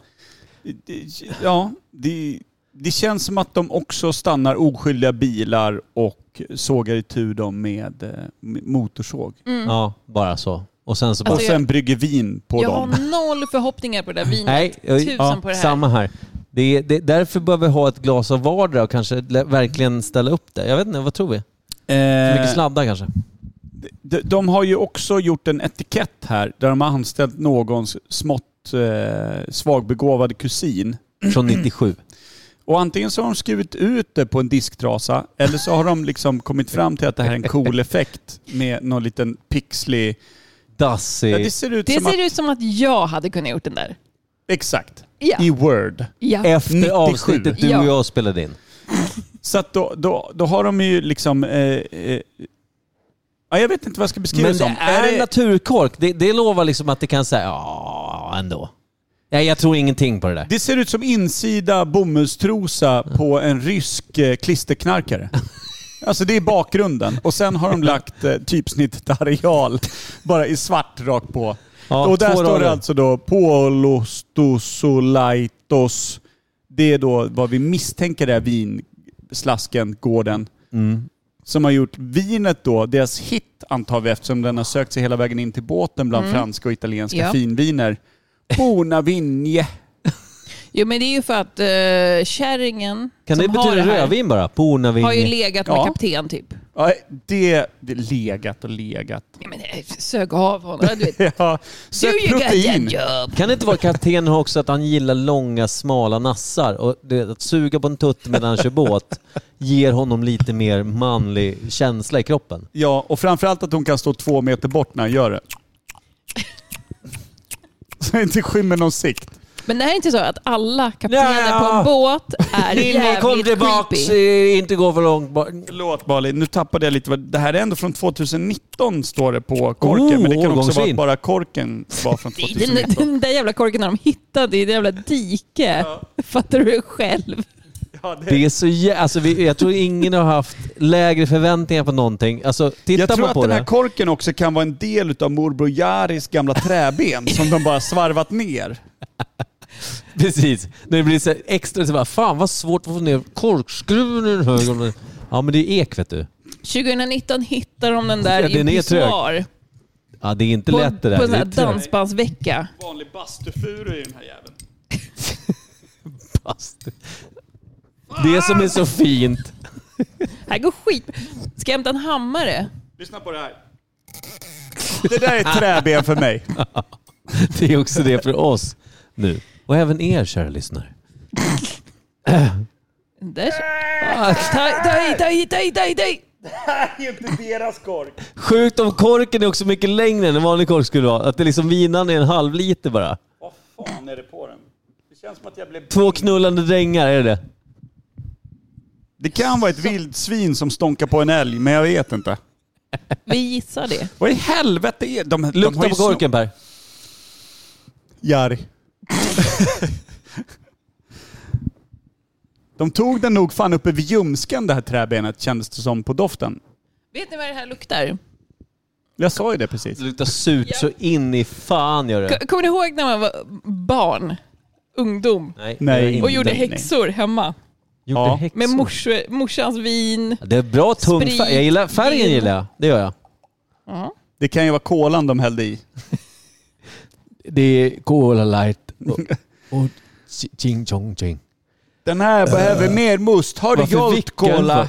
Speaker 3: Det- Ja, det, det känns som att de också stannar oskyldiga bilar och sågar itu dem med eh, med motorsåg.
Speaker 2: Mm.
Speaker 1: Ja, bara så. Och sen så bara...
Speaker 3: och
Speaker 2: Alltså,
Speaker 3: sen brygger vin på
Speaker 2: jag
Speaker 3: dem.
Speaker 2: har noll förhoppningar på det där vinet.
Speaker 1: Nej, jag-
Speaker 2: Tusen
Speaker 1: ja,
Speaker 2: på det här.
Speaker 1: samma här. Det, är- det, därför bör vi ha ett glas av vardera och kanske lä- verkligen ställa upp det. Jag vet inte, vad tror vi? För mycket
Speaker 3: Eh,
Speaker 1: sladdar kanske?
Speaker 3: de, de har ju också gjort en etikett här där de har anställt någons smått eh, svagbegåvad kusin.
Speaker 1: Från 97.
Speaker 3: Och antingen så har de skrivit ut det på en disktrasa eller så har de liksom kommit fram till att det här är en cool effekt med någon liten pixlig... Ja, det
Speaker 1: Dassig.
Speaker 3: ser ut
Speaker 2: Det
Speaker 3: som
Speaker 2: ser
Speaker 3: att...
Speaker 2: ut som att jag hade kunnat gjort den där.
Speaker 3: Exakt.
Speaker 2: Ja.
Speaker 3: I Word.
Speaker 2: Ja.
Speaker 1: Efter
Speaker 3: 97.
Speaker 1: avsnittet du och
Speaker 2: Ja.
Speaker 1: jag spelade in.
Speaker 3: Så att då, då, då har de ju liksom... Eh, eh, ja, jag vet inte vad jag ska beskriva
Speaker 1: Men
Speaker 3: det som.
Speaker 1: det är en naturkork. Det, det lovar liksom att det kan säga ja, ändå. Nej, jag tror ingenting på det där.
Speaker 3: det ser ut som insida bomullstrosa på en rysk eh,
Speaker 1: *laughs*
Speaker 3: klisterknarkare. Alltså det är bakgrunden. Och sen har de lagt eh, typsnittet areal bara i svart rakt på.
Speaker 1: Ja,
Speaker 3: och där
Speaker 1: två
Speaker 3: står
Speaker 1: rader.
Speaker 3: det alltså då Polostosolitos. Det är då vad vi misstänker är vinslasken, gården.
Speaker 1: Mm.
Speaker 3: Som har gjort vinet då, deras hit antar vi eftersom den har sökt sig hela vägen in till båten bland franska och italienska
Speaker 2: Ja.
Speaker 3: finviner. Bona Vinje.
Speaker 2: Jo, men det är ju för att uh, kärringen
Speaker 1: Kan
Speaker 2: som
Speaker 1: det
Speaker 2: har det
Speaker 1: betyda
Speaker 2: här
Speaker 1: rödvin bara? Pornavin.
Speaker 2: har ju legat med
Speaker 3: Ja.
Speaker 2: kapten typ.
Speaker 3: Ja, det, det är legat och legat.
Speaker 2: Nej, men, eh, sög av honom. Du
Speaker 1: *laughs*
Speaker 2: vet,
Speaker 3: *laughs* Ja,
Speaker 2: do
Speaker 3: sök
Speaker 2: you got that
Speaker 3: protein.
Speaker 2: job?
Speaker 1: Kan det inte vara kaptenen också att han gillar långa smala nassar och det, att suga på en tutt medan han kör båt ger honom lite mer manlig känsla i kroppen?
Speaker 3: Ja, och framförallt att hon kan stå två meter bort när han *laughs* gör det. Så det inte skymmer någon sikt.
Speaker 2: Men det här är inte så att alla kaptener
Speaker 1: Ja.
Speaker 2: på en båt är jävligt creepy.
Speaker 1: eh, inte gå för långt bort.
Speaker 3: Förlåt Malin, nu tappade jag lite. vad- Det här är ändå från 2019 står det på korken.
Speaker 1: Oh,
Speaker 3: men det kan också vara
Speaker 1: årgångsvin.
Speaker 3: att bara korken
Speaker 1: *laughs*
Speaker 3: var från
Speaker 2: Den,
Speaker 3: 2019.
Speaker 2: den där jävla korken har de hittat i det jävla dike. Fattar du själv?
Speaker 3: Ja, det-
Speaker 1: Det är så jä... alltså, vi, jag tror ingen har haft lägre förväntningar på någonting. Alltså,
Speaker 3: Jag
Speaker 1: tittar
Speaker 3: tror
Speaker 1: man
Speaker 3: att
Speaker 1: på
Speaker 3: den här
Speaker 1: det.
Speaker 3: korken också kan vara en del av morbror Jaris gamla träben som de bara svarvat ner.
Speaker 1: Precis. När det blir så här extra, så bara, fan vad svårt att få ner korkskruven i den här. Ja men det är ek vet du.
Speaker 2: 2019 hittar de den där
Speaker 1: Ja,
Speaker 2: i
Speaker 1: den
Speaker 2: en
Speaker 1: är trög.
Speaker 2: pissoar.
Speaker 1: Ja det är inte
Speaker 2: På,
Speaker 1: lätt det där.
Speaker 2: på en sån
Speaker 1: Det är
Speaker 2: här
Speaker 1: trögt.
Speaker 2: dansbandsvecka.
Speaker 3: Vanlig bastufuru i den här jäveln.
Speaker 1: Fast- Det som är så fint.
Speaker 2: Här går skit. Ska jag hämta en hammare?
Speaker 3: Lyssna på det här. Det där är ett träben för mig.
Speaker 1: *laughs* Det är också det för oss nu. Och även er kära lyssnare.
Speaker 2: Där. Ta- ta i, ta i, ta i, ta i, ta i.
Speaker 3: Det är ju inte deras kork.
Speaker 1: Sjukt om korken är också mycket längre än en vanlig kork skulle vara. Att det liksom vinan är en halv liter bara.
Speaker 3: Vad fan är det på den? Det känns som att jag blev...
Speaker 1: Två knullande drängar, är det det?
Speaker 3: Det kan vara ett vildsvin som stonkar på en älg, men jag vet inte.
Speaker 2: Vi gissar det.
Speaker 3: Vad i helvete är de, de har
Speaker 1: Lukta
Speaker 3: ju
Speaker 1: på
Speaker 3: snor-
Speaker 1: korken Per.
Speaker 3: Jari. *laughs* de tog den nog fan uppe vid ljumsken det här träbenet kändes det som på doften.
Speaker 2: Vet ni vad det här luktar?
Speaker 3: Jag sa ju det precis.
Speaker 1: Det luktar surt så in i fan gör det.
Speaker 2: Ko- Kommer ni ihåg när man var barn? Ungdom?
Speaker 1: Mm, Nej.
Speaker 3: Nej.
Speaker 1: det gör det
Speaker 2: Och
Speaker 1: inte.
Speaker 2: gjorde
Speaker 3: Nej, nej.
Speaker 2: häxor hemma.
Speaker 1: Gjorde
Speaker 3: Ja.
Speaker 1: häxor.
Speaker 2: Med mors, morsans vin.
Speaker 1: Det är bra tung
Speaker 2: Sprit,
Speaker 1: färg. Jag gillar, färgen
Speaker 2: vin.
Speaker 1: gillar jag. Det gör jag.
Speaker 3: Det kan ju vara kolan de hällde i.
Speaker 1: Det är Cola light och, *laughs* och ching chong ching.
Speaker 3: Den här behöver mer must. Har du
Speaker 1: Eh, Varför
Speaker 3: gjort
Speaker 1: vickar den
Speaker 3: kola?
Speaker 1: för?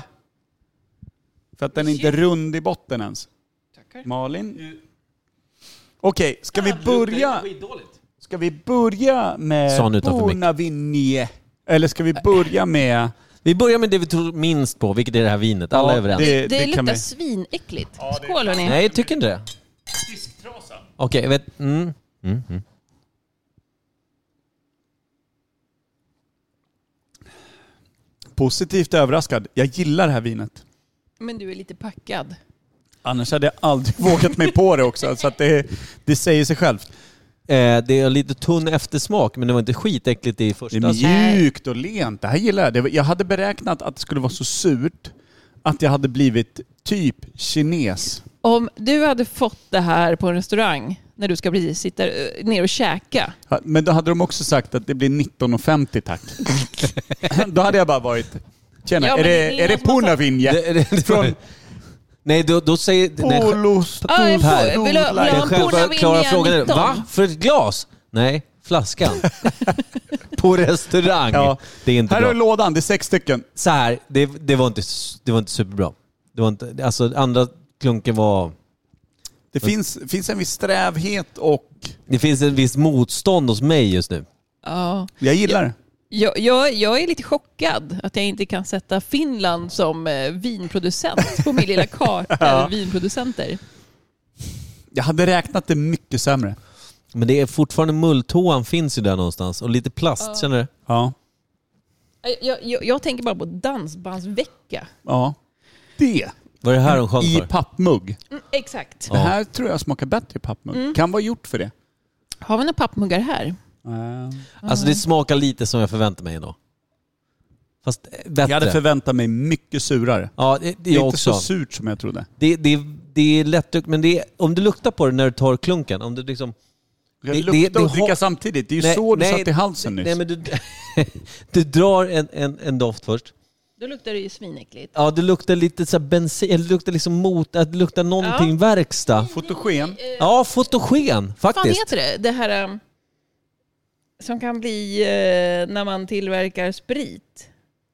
Speaker 3: För att den är inte är rund i botten ens. Malin? Okej, ska vi börja... Ska vi börja
Speaker 1: Sa han
Speaker 3: med
Speaker 1: utanför mick.
Speaker 3: Bonavinje? Eller ska vi börja med...
Speaker 1: Vi börjar med det vi tror minst på, vilket är det här vinet. Alla är överens.
Speaker 2: Det,
Speaker 3: kan
Speaker 2: luktar
Speaker 3: vi-
Speaker 2: svinäckligt. Skål hörni.
Speaker 1: Nej, jag tycker inte det. Okej, jag vet... Mm.
Speaker 3: Positivt överraskad. Jag gillar det här vinet.
Speaker 2: Men du är lite packad.
Speaker 3: Annars hade jag aldrig *laughs* vågat mig på det också. Så att det, det säger sig självt.
Speaker 1: Eh, det är lite tunn eftersmak, men det var inte skitäckligt i
Speaker 3: Det
Speaker 1: första.
Speaker 2: Alltså,
Speaker 3: är mjukt och lent. Det här gillar jag. Det var- Jag hade beräknat att det skulle vara så surt att jag hade blivit typ kines.
Speaker 2: Om du hade fått det här på en restaurang när du ska precis sitta eh, ner och käka.
Speaker 3: Ja, Men då hade de också sagt att det blir
Speaker 2: *laughs*
Speaker 3: 19,50 tack. då hade jag bara varit... Tjena,
Speaker 2: Ja,
Speaker 3: är
Speaker 2: men det är
Speaker 3: det, är det
Speaker 2: ingen som har sagt-
Speaker 3: Punavinje?
Speaker 1: Det- det- det-
Speaker 3: Från
Speaker 1: Nej, då, då säger... nej, sj-
Speaker 3: Polos...
Speaker 2: Ja, jag får-
Speaker 1: Per.
Speaker 2: vill du- vill du ha
Speaker 1: Den
Speaker 2: en
Speaker 1: självklara
Speaker 2: Pornavinja
Speaker 1: frågan är,
Speaker 2: 19?
Speaker 1: va? För ett glas? Nej,
Speaker 3: *laughs*
Speaker 1: flaskan. På restaurang.
Speaker 3: Ja.
Speaker 1: Det är inte
Speaker 3: Här
Speaker 1: bra.
Speaker 3: har du lådan, det är sex stycken.
Speaker 1: Så här, det, det, var inte, s- det var inte superbra. Det var inte, alltså andra klunken var...
Speaker 3: Det
Speaker 2: Mm.
Speaker 3: finns, finns en viss strävhet och...
Speaker 1: Det finns ett visst motstånd hos mig just nu.
Speaker 2: Ja.
Speaker 3: Jag gillar det.
Speaker 2: Jag, jag, jag är lite chockad att jag inte kan sätta Finland som eh, vinproducent på min
Speaker 1: *laughs*
Speaker 2: lilla karta över vinproducenter.
Speaker 3: Jag hade räknat det mycket sämre.
Speaker 1: Men det är fortfarande mulltoan finns ju där någonstans. Och lite plast, känner du?
Speaker 3: Ja.
Speaker 2: Jag, jag, jag tänker bara på dansbandsvecka.
Speaker 3: ja. Det.
Speaker 1: Var det här de sjöng
Speaker 3: I
Speaker 1: för?
Speaker 3: pappmugg.
Speaker 2: Mm, exakt.
Speaker 3: Det här tror jag smakar bättre i pappmugg. Kan vara gjort
Speaker 1: Äh.
Speaker 3: för det.
Speaker 2: Har vi några pappmuggar här?
Speaker 1: Alltså det smakar lite som jag förväntar mig ändå. Fast eh, bättre.
Speaker 3: Jag hade förväntat mig mycket surare.
Speaker 1: Ja, det, det
Speaker 3: Det är
Speaker 1: jag
Speaker 3: inte
Speaker 1: också.
Speaker 3: så surt som jag trodde.
Speaker 1: Det, det, det är lättdrucket, men det är, om du luktar på det när du tar klunken, om du liksom...
Speaker 3: Det,
Speaker 1: Det-
Speaker 3: lukta
Speaker 1: det- det
Speaker 3: och dricka
Speaker 1: har-
Speaker 3: samtidigt. Det är ju så du satt i halsen nyss.
Speaker 1: Nej, men du, *laughs* du drar en, en, en doft först.
Speaker 2: Då luktar det ju svinäckligt.
Speaker 1: Ja, det luktar lite så här bensin, eller det luktar liksom mot, att det luktar någonting verkstad.
Speaker 3: Fotogen.
Speaker 1: Ja, fotogen
Speaker 2: Vad fan
Speaker 1: faktiskt.
Speaker 2: heter det? Det här eh, som kan bli eh, när man tillverkar sprit.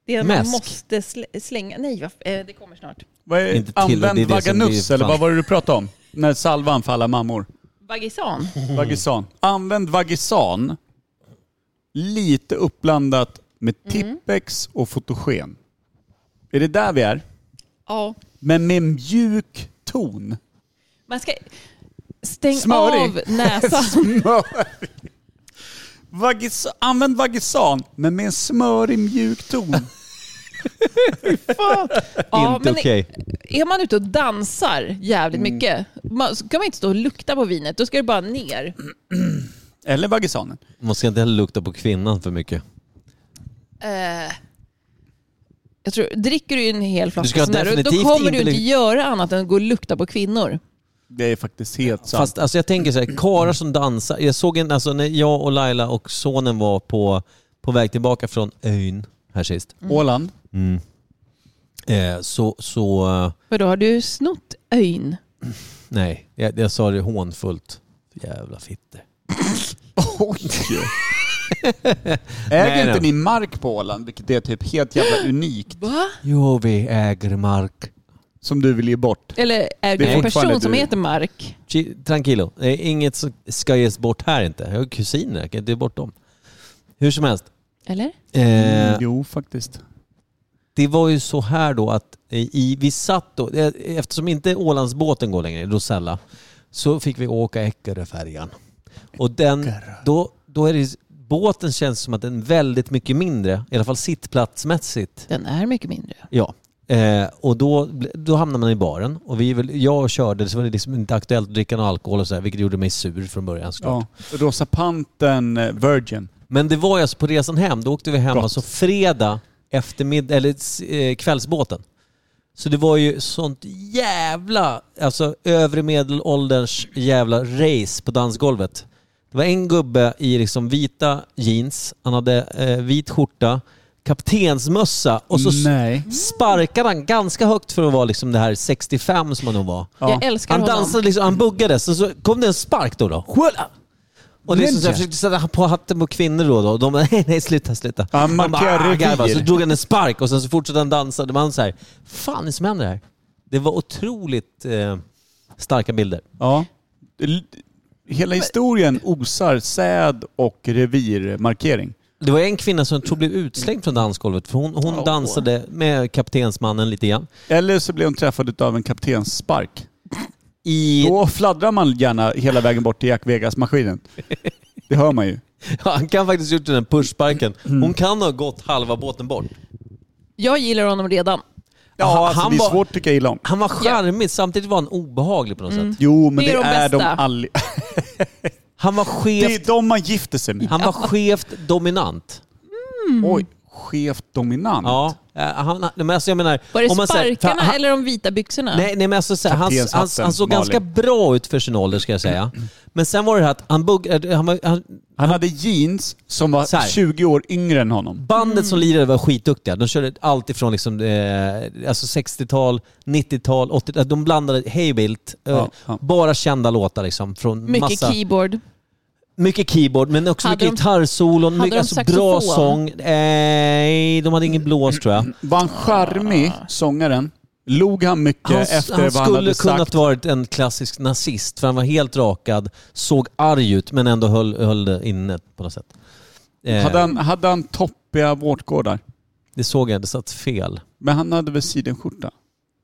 Speaker 2: Det är man
Speaker 1: Mäsk.
Speaker 2: måste slä- slänga. Nej, vad f- eh, det kommer snart.
Speaker 3: Vad är,
Speaker 1: Inte till,
Speaker 3: använd
Speaker 1: det är det som
Speaker 3: vaganuss,
Speaker 1: blir fan.
Speaker 3: eller
Speaker 1: Mm.
Speaker 3: vad var det du pratade om? När salvan för alla mammor.
Speaker 1: *laughs*
Speaker 2: Vagisan.
Speaker 3: Vagisan. Använd vagisan. Lite uppblandat med Tippex och fotogen. Är det där vi är?
Speaker 2: Ja.
Speaker 3: Men med mjuk ton.
Speaker 2: Man ska... Stäng
Speaker 3: Smörig.
Speaker 2: av
Speaker 1: *laughs*
Speaker 2: näsan.
Speaker 3: Vagis, använd vagisan, men med en smörig mjuk ton.
Speaker 2: ja,
Speaker 1: Inte
Speaker 2: men
Speaker 1: okej.
Speaker 2: Är man ute och dansar jävligt
Speaker 1: Mm.
Speaker 2: mycket, man, ska man inte stå och lukta på vinet. Då ska det bara ner.
Speaker 3: *laughs* Eller vagisanen.
Speaker 1: Man ska inte heller lukta på kvinnan för mycket.
Speaker 2: Eh, jag tror, dricker du en hel
Speaker 1: Du ska
Speaker 2: flaska sån där, då
Speaker 1: definitivt
Speaker 2: kommer
Speaker 1: inte
Speaker 2: du inte
Speaker 1: luk-
Speaker 2: göra annat än att gå och lukta på kvinnor.
Speaker 3: Det är faktiskt helt sant.
Speaker 1: Fast alltså, jag tänker så här, karlar som dansar. Jag såg en, alltså när jag och Laila och sonen var på, på väg tillbaka från ön här sist.
Speaker 3: Mm. Åland.
Speaker 1: Eh, så, så, eh,
Speaker 2: För då har du snott öyn.
Speaker 1: nej, jag, jag sa det hånfullt. Jävla fitter.
Speaker 3: *laughs* Oj! Äger
Speaker 1: Nej,
Speaker 3: inte
Speaker 1: nej.
Speaker 3: ni mark på Åland, vilket är typ helt jävla unikt,
Speaker 2: Va?
Speaker 1: Jo, vi äger mark.
Speaker 3: som du vill ge bort?
Speaker 2: Eller är
Speaker 3: Det är
Speaker 2: det en
Speaker 3: fortfarande
Speaker 2: person som
Speaker 3: du.
Speaker 2: heter Mark?
Speaker 1: Chi- Tranquilo. Det är inget som ska ges bort här inte. Jag har kusiner, jag kan inte ge bort dem. Hur som helst.
Speaker 2: Eller?
Speaker 1: Eh,
Speaker 3: Jo, faktiskt.
Speaker 1: det var ju så här då att i, vi satt då, eh, eftersom inte Ålandsbåten går längre, Rosella, så fick vi åka Eckeröfärjan. Och den, då, då är det, båten känns som att den är väldigt mycket mindre, i alla fall sittplatsmässigt.
Speaker 2: Den är mycket mindre.
Speaker 1: Ja. Eh, och då, ble- då hamnade man i baren och vi, väl- jag körde så var det liksom inte aktuellt att dricka någon alkohol och så här, vilket gjorde mig sur från början såklart.
Speaker 3: Ja. Rosa Panten eh, Virgin.
Speaker 1: Men det var ju alltså på resan hem, då åkte vi hem
Speaker 3: Gott.
Speaker 1: alltså fredag eftermiddag, eller s- eh, kvällsbåten. Så det var ju sånt jävla, alltså övre medelålderns jävla race på dansgolvet. Det var en gubbe i liksom vita jeans, han hade eh, vit skjorta, kaptensmössa och så s-
Speaker 3: Nej.
Speaker 1: sparkade han ganska högt för att vara liksom det här 65 som han nog var.
Speaker 2: Jag älskar
Speaker 1: Han
Speaker 2: honom.
Speaker 1: dansade liksom, han buggade, så, så kom det en spark då. då. Skjuta! Och liksom, så jag försökte sätta på hatten på kvinnor då, då och de bara, *laughs* nej, nej sluta, sluta.
Speaker 3: Ja,
Speaker 1: Han
Speaker 3: markera
Speaker 1: bara, "Ah",
Speaker 3: revir.
Speaker 1: garvade. så drog han en spark och sen så fortsatte han dansa. Det var han så här, fan det är det som händer här? Det var otroligt eh, starka bilder.
Speaker 3: Ja. L- Hela historien osar säd och revirmarkering.
Speaker 1: Det var en kvinna som jag tror blev utslängd från dansgolvet för hon, hon dansade med kaptensmannen lite grann.
Speaker 3: Eller så blev hon träffad av en kaptensspark.
Speaker 1: I,
Speaker 3: Då fladdrar man gärna hela vägen bort till Jack Vegas-maskinen. Det hör man ju.
Speaker 1: *laughs* han kan faktiskt ha gjort den
Speaker 3: Mm.
Speaker 1: här pushsparken. Hon kan ha gått halva båten bort.
Speaker 2: Jag gillar honom redan.
Speaker 3: Ja, alltså,
Speaker 1: han
Speaker 3: det är
Speaker 1: var-
Speaker 3: svårt att tycka illa om.
Speaker 1: Han var charmig, samtidigt var han obehaglig på något sätt.
Speaker 3: Jo, men
Speaker 2: Det
Speaker 3: det,
Speaker 2: är de
Speaker 3: är de
Speaker 2: bästa.
Speaker 3: all...
Speaker 1: Han var
Speaker 3: *laughs* Det
Speaker 1: skevt,
Speaker 3: är de man gifter sig med.
Speaker 1: han var skevt dominant.
Speaker 3: Oj, skevt dominant.
Speaker 1: Ja, eh, han, nej, men alltså jag menar...
Speaker 2: Var det
Speaker 1: om man säger- för
Speaker 2: sparkarna
Speaker 1: han-
Speaker 2: eller de vita byxorna?
Speaker 1: Nej, nej men alltså, så här, han,
Speaker 3: Kaptenshatten,
Speaker 1: han, han såg
Speaker 3: Malin.
Speaker 1: ganska bra ut för sin ålder ska jag säga.
Speaker 2: Mm.
Speaker 1: Men sen var det här att han, bugg, eh, han, var- han
Speaker 3: Han hade jeans som
Speaker 1: Så här.
Speaker 3: var 20 år yngre än honom.
Speaker 1: Bandet som
Speaker 2: Mm.
Speaker 1: lirade var skitduktiga. De körde allt ifrån liksom, eh, alltså 60-tal, 90-tal, 80-tal. eh, De blandade hejvilt. Eh,
Speaker 3: Ja, ja.
Speaker 1: Bara kända låtar liksom. Från
Speaker 2: Mycket
Speaker 1: massa,
Speaker 2: keyboard.
Speaker 1: mycket keyboard, men också
Speaker 2: Hade
Speaker 1: mycket
Speaker 2: de-
Speaker 1: gitarrsolon.
Speaker 2: hade
Speaker 1: Mycket,
Speaker 2: de
Speaker 1: alltså, bra
Speaker 2: saxofon?
Speaker 1: sång. Nej, de hade ingen blås tror jag.
Speaker 3: Var han charmig, sångaren? Log han mycket
Speaker 1: Han,
Speaker 3: efter
Speaker 1: han
Speaker 3: vad han
Speaker 1: skulle
Speaker 3: hade
Speaker 1: kunnat
Speaker 3: sagt?
Speaker 1: varit en klassisk nazist, för han var helt rakad, såg arg ut, men ändå höll, höll det inne på något sätt. Eh,
Speaker 3: Hade han, hade han toppiga vårtgårdar?
Speaker 1: Det såg jag, det satt fel.
Speaker 3: Men han hade väl sidenskjorta?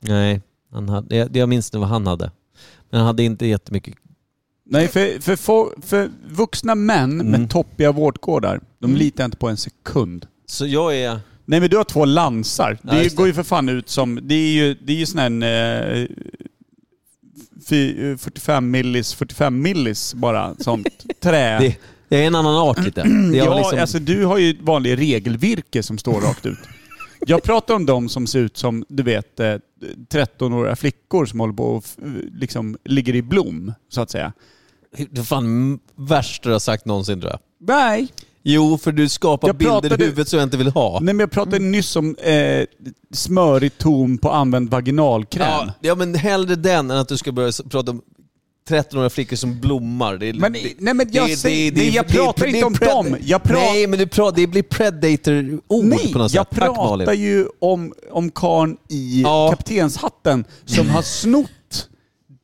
Speaker 1: Nej, han hade, jag, jag minns inte vad han hade. Men han hade inte jättemycket...
Speaker 3: Nej, för, för, för, för vuxna män
Speaker 1: Mm.
Speaker 3: med toppiga vårtgårdar, de litar jag inte på en sekund.
Speaker 1: Så jag är...
Speaker 3: Nej men du har två lansar.
Speaker 1: Ja,
Speaker 3: det
Speaker 1: just det.
Speaker 3: går ju för fan ut som... Det är ju, det är ju sån här... en, Eh, fy- eh, 45 millis, 45 millis bara.
Speaker 1: *laughs*
Speaker 3: Sånt trä.
Speaker 1: Det, jag är en annan art lite. Det är
Speaker 3: ja,
Speaker 1: jag liksom,
Speaker 3: alltså du har ju vanlig regelvirke som står rakt ut. Jag pratar om de som ser ut som, du vet, eh, 13-åriga flickor som håller på och f- liksom ligger i blom, så att säga.
Speaker 1: Det är fan värsta du har sagt någonsin tror jag.
Speaker 3: Nej.
Speaker 1: Jo, för du skapar
Speaker 3: Jag
Speaker 1: bilder
Speaker 3: pratade-
Speaker 1: i huvudet som jag inte vill ha.
Speaker 3: Nej men jag pratade nyss om eh, smörig ton på använd vaginalkräm.
Speaker 1: Ja, ja, men hellre den än att du ska börja s- prata om 13-åriga flickor som blommar. Det är,
Speaker 3: Men-
Speaker 1: det,
Speaker 3: nej, men jag
Speaker 1: det-
Speaker 3: säger-
Speaker 1: det- det-
Speaker 3: nej, jag
Speaker 1: det-
Speaker 3: pratar
Speaker 1: det-
Speaker 3: inte
Speaker 1: det är
Speaker 3: om
Speaker 1: pred-
Speaker 3: dem. Jag pratar-
Speaker 1: Nej, men du pratar, det blir predator-ord
Speaker 3: Nej,
Speaker 1: på något
Speaker 3: jag
Speaker 1: sätt. Tack,
Speaker 3: pratar
Speaker 1: Malin.
Speaker 3: ju om, om karn i
Speaker 1: Ja.
Speaker 3: kaptenshatten som har snott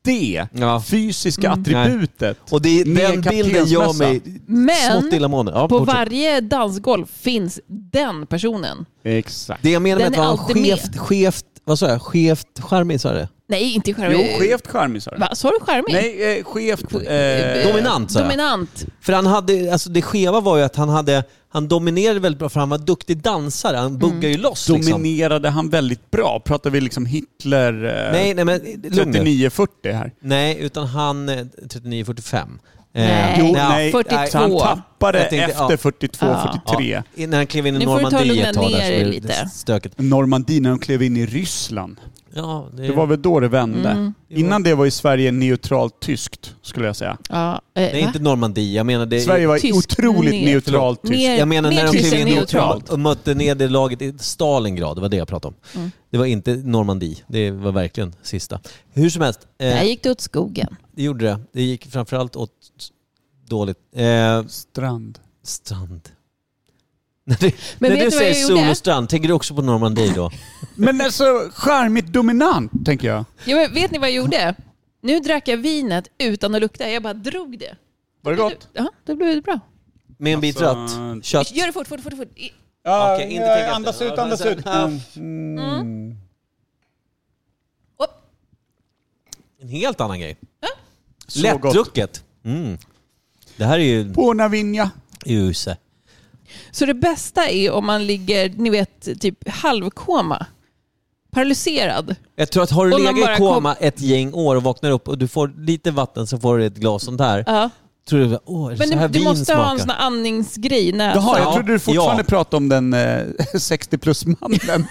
Speaker 3: det
Speaker 1: Ja. Mm.
Speaker 3: fysiska attributet.
Speaker 1: Och det är
Speaker 3: med
Speaker 1: den bilden gör
Speaker 3: kaptensmössa.
Speaker 1: mig
Speaker 2: Men
Speaker 1: smått illamående. Ja,
Speaker 2: På
Speaker 1: fortsätt.
Speaker 2: varje dansgolv finns den personen.
Speaker 3: Exakt.
Speaker 1: Det jag menar med
Speaker 2: Den
Speaker 1: att vara
Speaker 2: är
Speaker 1: en
Speaker 2: alltid
Speaker 1: skevt, skevt, vad sa jag, skevt charmig sa jag det?
Speaker 2: Nej, inte
Speaker 3: Jo,
Speaker 2: charmig.
Speaker 3: skevt charmig sa du.
Speaker 2: Va, Sa du charmig?
Speaker 3: Nej, eh, skevt...
Speaker 2: Eh,
Speaker 3: Eh,
Speaker 1: Dominant sa jag.
Speaker 2: Dominant.
Speaker 1: För han hade, alltså det skeva var ju att han hade, han dominerade väldigt bra för han var duktig dansare,
Speaker 2: Mm.
Speaker 1: han buggade ju loss liksom.
Speaker 3: dominerade han väldigt bra? Pratar vi liksom Hitler... Eh,
Speaker 1: Nej, nej men lugn nu.
Speaker 3: 39-40 här.
Speaker 1: Nej, utan han, eh, 39-45.
Speaker 2: Nej. Jo, nej. 42.
Speaker 3: Så han tappade
Speaker 1: Jag tänkte, ja.
Speaker 3: efter 42,
Speaker 2: Ja.
Speaker 3: 43.
Speaker 1: Ja, innan han klev in i
Speaker 2: Nu får du ta och
Speaker 1: Normandie ett
Speaker 2: lugna
Speaker 1: tag där så
Speaker 2: ner
Speaker 1: blev det
Speaker 2: er lite.
Speaker 1: stökigt.
Speaker 3: Normandie, när de klev in i Ryssland.
Speaker 1: Ja, det,
Speaker 3: Det var väl då det
Speaker 1: Mm.
Speaker 3: vände.
Speaker 2: Mm.
Speaker 3: Innan det var ju Sverige neutralt tyskt, skulle jag säga.
Speaker 2: Ja, eh,
Speaker 1: Nej,
Speaker 2: va?
Speaker 1: inte Normandie. Jag menar det...
Speaker 3: Sverige var
Speaker 2: Tysk-
Speaker 3: otroligt
Speaker 2: ner-
Speaker 3: neutralt tyskt.
Speaker 2: Ner-
Speaker 1: Jag menar
Speaker 2: mer
Speaker 1: när de
Speaker 2: tyst
Speaker 1: klev in
Speaker 2: än
Speaker 1: neutralt
Speaker 2: neutralt. Mm.
Speaker 1: och mötte nederlaget i Stalingrad. Det var det jag pratade om. Det var inte Normandie. Det var verkligen sista. Hur som helst, eh,
Speaker 2: Där gick det åt skogen.
Speaker 1: det gjorde det. Det gick framförallt åt dåligt. Eh,
Speaker 3: Strand.
Speaker 1: strand. *laughs* När du,
Speaker 2: Men
Speaker 1: när
Speaker 2: vet
Speaker 1: du
Speaker 2: du vad jag
Speaker 1: säger sol
Speaker 2: gjorde?
Speaker 1: och strand, tänker du också på Normandie då?
Speaker 3: Men alltså, charmigt dominant, tänker jag.
Speaker 2: Ja, men vet ni vad jag gjorde? Nu drack jag vinet utan att lukta. Jag bara drog det.
Speaker 3: Var det gott?
Speaker 2: Ja, då blev det bra.
Speaker 1: Med en bit rött
Speaker 3: Alltså-
Speaker 1: kött.
Speaker 2: Gör det fort, fort, fort. fort. I-
Speaker 3: Ja,
Speaker 1: Okej, inte tänka
Speaker 3: andas
Speaker 1: efter.
Speaker 3: ut, andas ut. Mm.
Speaker 2: Upp.
Speaker 1: En helt annan grej.
Speaker 3: Så gott.
Speaker 1: Lättdrucket. Mm. Det här är ju
Speaker 3: Buona vinja.
Speaker 1: use.
Speaker 2: Så det bästa är om man ligger, ni vet, typ halvkoma. Paralyserad.
Speaker 1: Jag tror att har du
Speaker 2: Och man
Speaker 1: legat
Speaker 2: bara
Speaker 1: i koma ett gäng år och vaknar upp och du får lite vatten så får du ett glas sånt här.
Speaker 2: Ja.
Speaker 1: Tror du, åh, är det
Speaker 2: Men
Speaker 1: så här
Speaker 2: du, du
Speaker 1: vin
Speaker 2: måste
Speaker 1: smakar?
Speaker 2: ha en sån här andningsgrej i näsan.
Speaker 3: Jaha, jag
Speaker 1: Ja.
Speaker 3: trodde du fortfarande
Speaker 1: Ja.
Speaker 3: pratade om den eh, *laughs* 60 plus-mannen.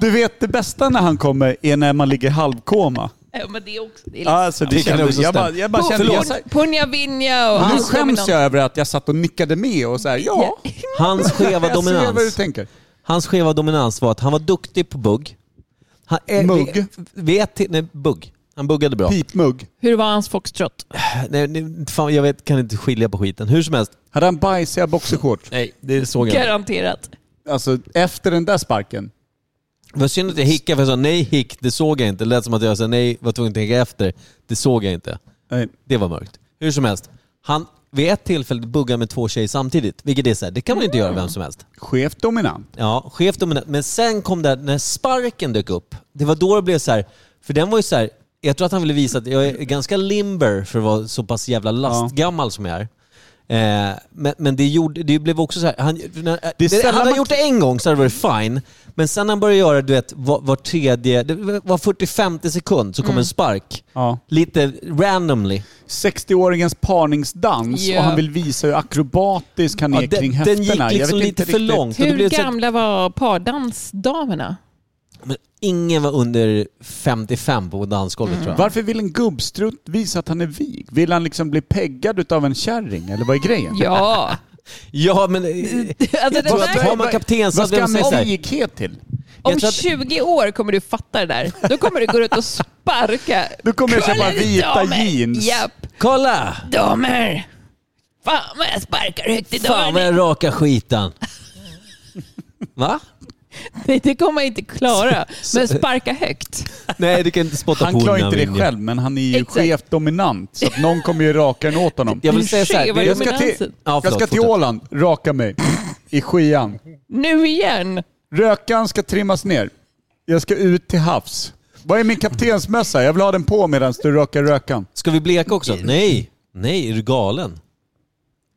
Speaker 3: Du vet, det bästa när han kommer är när man ligger i halvkoma.
Speaker 2: Ja, men det är också... Det är liksom-
Speaker 3: Alltså, det
Speaker 1: det kan
Speaker 3: kändes,
Speaker 1: också
Speaker 3: jag, bara,
Speaker 1: stämma.
Speaker 3: jag bara kände... Jag,
Speaker 2: Pun- Punja Vinja och...
Speaker 3: nu
Speaker 2: allt
Speaker 3: skäms
Speaker 2: dominant.
Speaker 3: jag över att jag satt och nickade med och så här, ja.
Speaker 2: *laughs*
Speaker 1: Hans skeva
Speaker 3: Jag ser vad du
Speaker 1: dominans.
Speaker 3: tänker.
Speaker 1: Hans skeva dominans var att han var duktig på bugg. Han, eh,
Speaker 3: Mugg.
Speaker 1: Vet, vet, nej, bugg. Han buggade bra.
Speaker 3: Pipmugg.
Speaker 2: Hur var hans foxtrot?
Speaker 1: Nej, nej, fan, jag vet, kan inte skilja på skiten. Hur som helst.
Speaker 3: Hade han bajsiga boxershorts?
Speaker 1: Nej, det såg jag inte.
Speaker 2: Garanterat.
Speaker 3: Alltså, efter den där sparken.
Speaker 1: Det var synd att jag hickade för jag sa nej hick, det såg jag inte. Det lät som att jag sa nej, var tvungen att tänka efter. Det såg jag inte.
Speaker 3: Nej.
Speaker 1: Det var mörkt. Hur som helst. Han vid ett tillfälle buggade med två tjejer samtidigt. Vilket är så här, det kan man ju inte göra vem som helst.
Speaker 3: Skevt dominant.
Speaker 1: Ja, chef dominant. Men sen kom det här, när sparken dök upp. Det var då det blev så här, för den var ju så här, jag tror att han ville visa att jag är ganska limber för att vara så pass jävla lastgammal som jag är. Eh, men, men det, gjorde, det blev också så här, han, när, eh,
Speaker 3: Det är
Speaker 1: det,
Speaker 3: sällan
Speaker 1: hade han
Speaker 3: man-
Speaker 1: gjort det en gång så hade det varit fine. Men sen när han började göra du vet, var, var tredje, det var 40-50 sekund så kom en spark.
Speaker 3: Mm. Ja.
Speaker 1: Lite randomly.
Speaker 3: 60-åringens parningsdans
Speaker 2: Ja.
Speaker 3: och han vill visa hur akrobatisk han är
Speaker 1: Ja, den,
Speaker 3: kring höfterna.
Speaker 1: den gick
Speaker 3: Jag
Speaker 1: liksom
Speaker 3: vet
Speaker 1: lite
Speaker 3: inte
Speaker 1: för
Speaker 3: riktigt.
Speaker 1: långt. och det
Speaker 2: Hur
Speaker 1: blev så här-
Speaker 2: gamla var pardansdamerna?
Speaker 1: men ingen var under 55 på dansgolvet
Speaker 2: Mm.
Speaker 1: tror jag.
Speaker 3: Varför vill en gubbstrutt visa att han är vig? Vill han liksom bli peggad utav en kärring eller vad är grejen?
Speaker 2: Ja.
Speaker 1: Ja, men... eh,
Speaker 2: *laughs* Alltså, det
Speaker 1: Jag tror
Speaker 2: där-
Speaker 1: att har man
Speaker 3: Vad
Speaker 1: kaptensabeln
Speaker 3: ska
Speaker 1: och
Speaker 3: han
Speaker 1: säger så
Speaker 3: med
Speaker 1: här,
Speaker 3: vighet till?
Speaker 1: Jag
Speaker 2: Om
Speaker 1: tror att-
Speaker 2: 20 år kommer du fatta det där. Då kommer du gå ut och sparka.
Speaker 3: Då kommer jag köpa
Speaker 2: Kolla, det är
Speaker 3: vita
Speaker 2: damer.
Speaker 3: jeans.
Speaker 2: Japp, *laughs*
Speaker 1: kolla!
Speaker 2: damer! Fan vad jag sparkar högt i
Speaker 1: Fan vad
Speaker 2: dörren.
Speaker 1: jag raka skitan. Va?
Speaker 2: Nej, det kommer man inte
Speaker 1: *laughs*
Speaker 2: klara. Men sparka högt.
Speaker 1: Nej, du kan inte spotta
Speaker 3: Han
Speaker 1: på
Speaker 3: klarar
Speaker 1: honom,
Speaker 3: inte det
Speaker 1: Vinja.
Speaker 3: själv, men han är ju
Speaker 2: Exakt.
Speaker 3: skevt dominant. Så att någon kommer ju raka den åt honom.
Speaker 1: Jag vill säga så här,
Speaker 2: Tjej, vad
Speaker 1: det-
Speaker 2: är
Speaker 3: Jag ska till,
Speaker 2: dominansen?
Speaker 1: Ja, förlåt,
Speaker 3: jag ska till
Speaker 1: fortsätt.
Speaker 3: Åland, raka mig. I skian.
Speaker 2: Nu igen.
Speaker 3: Rökan ska trimmas ner. Jag ska ut till havs. Vad är min kaptensmössa? Jag vill ha den på medan du rökar rökan. *laughs*
Speaker 1: Ska vi bleka också? Nej, nej, är du galen?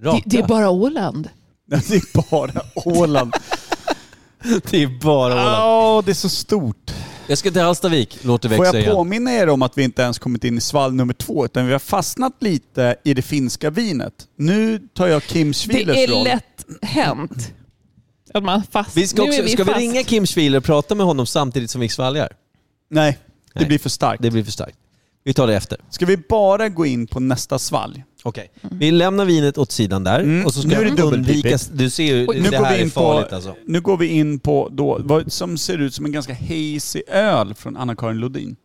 Speaker 2: Det,
Speaker 1: Raka.
Speaker 2: det är bara Åland.
Speaker 3: Det är bara Åland.
Speaker 1: *laughs* det är bara Åland.
Speaker 3: Ja, det är så stort.
Speaker 1: Jag ska till Hallstavik, låter
Speaker 3: Får
Speaker 1: växa
Speaker 3: jag
Speaker 1: igen.
Speaker 3: påminna er om att vi inte ens kommit in i svalg nummer två, utan vi har fastnat lite i det finska vinet. Nu tar jag Kim
Speaker 2: Det
Speaker 3: Schwielers
Speaker 2: är
Speaker 3: roll.
Speaker 2: lätt hänt. Att man fast.
Speaker 1: Vi ska,
Speaker 2: nu
Speaker 1: också,
Speaker 2: är vi
Speaker 1: ska vi
Speaker 2: fast.
Speaker 1: ringa Kim Schwiler och prata med honom samtidigt som vi svalgar?
Speaker 3: Nej, det
Speaker 1: Nej.
Speaker 3: blir för starkt.
Speaker 1: Det blir för starkt. Vi tar det efter.
Speaker 3: Ska vi bara gå in på nästa svalg?
Speaker 1: Okej. Vi lämnar vinet åt sidan där
Speaker 3: Mm.
Speaker 1: och så ska
Speaker 3: Nu är det
Speaker 1: jag undvika...
Speaker 3: dubbelpipigt.
Speaker 1: Du ser ju,
Speaker 2: Oj.
Speaker 1: det
Speaker 3: Nu går,
Speaker 1: här
Speaker 3: vi
Speaker 1: är
Speaker 3: in på,
Speaker 1: farligt alltså.
Speaker 3: nu går vi in på då, vad som ser ut som en ganska hazy öl från Anna-Karin Lodin.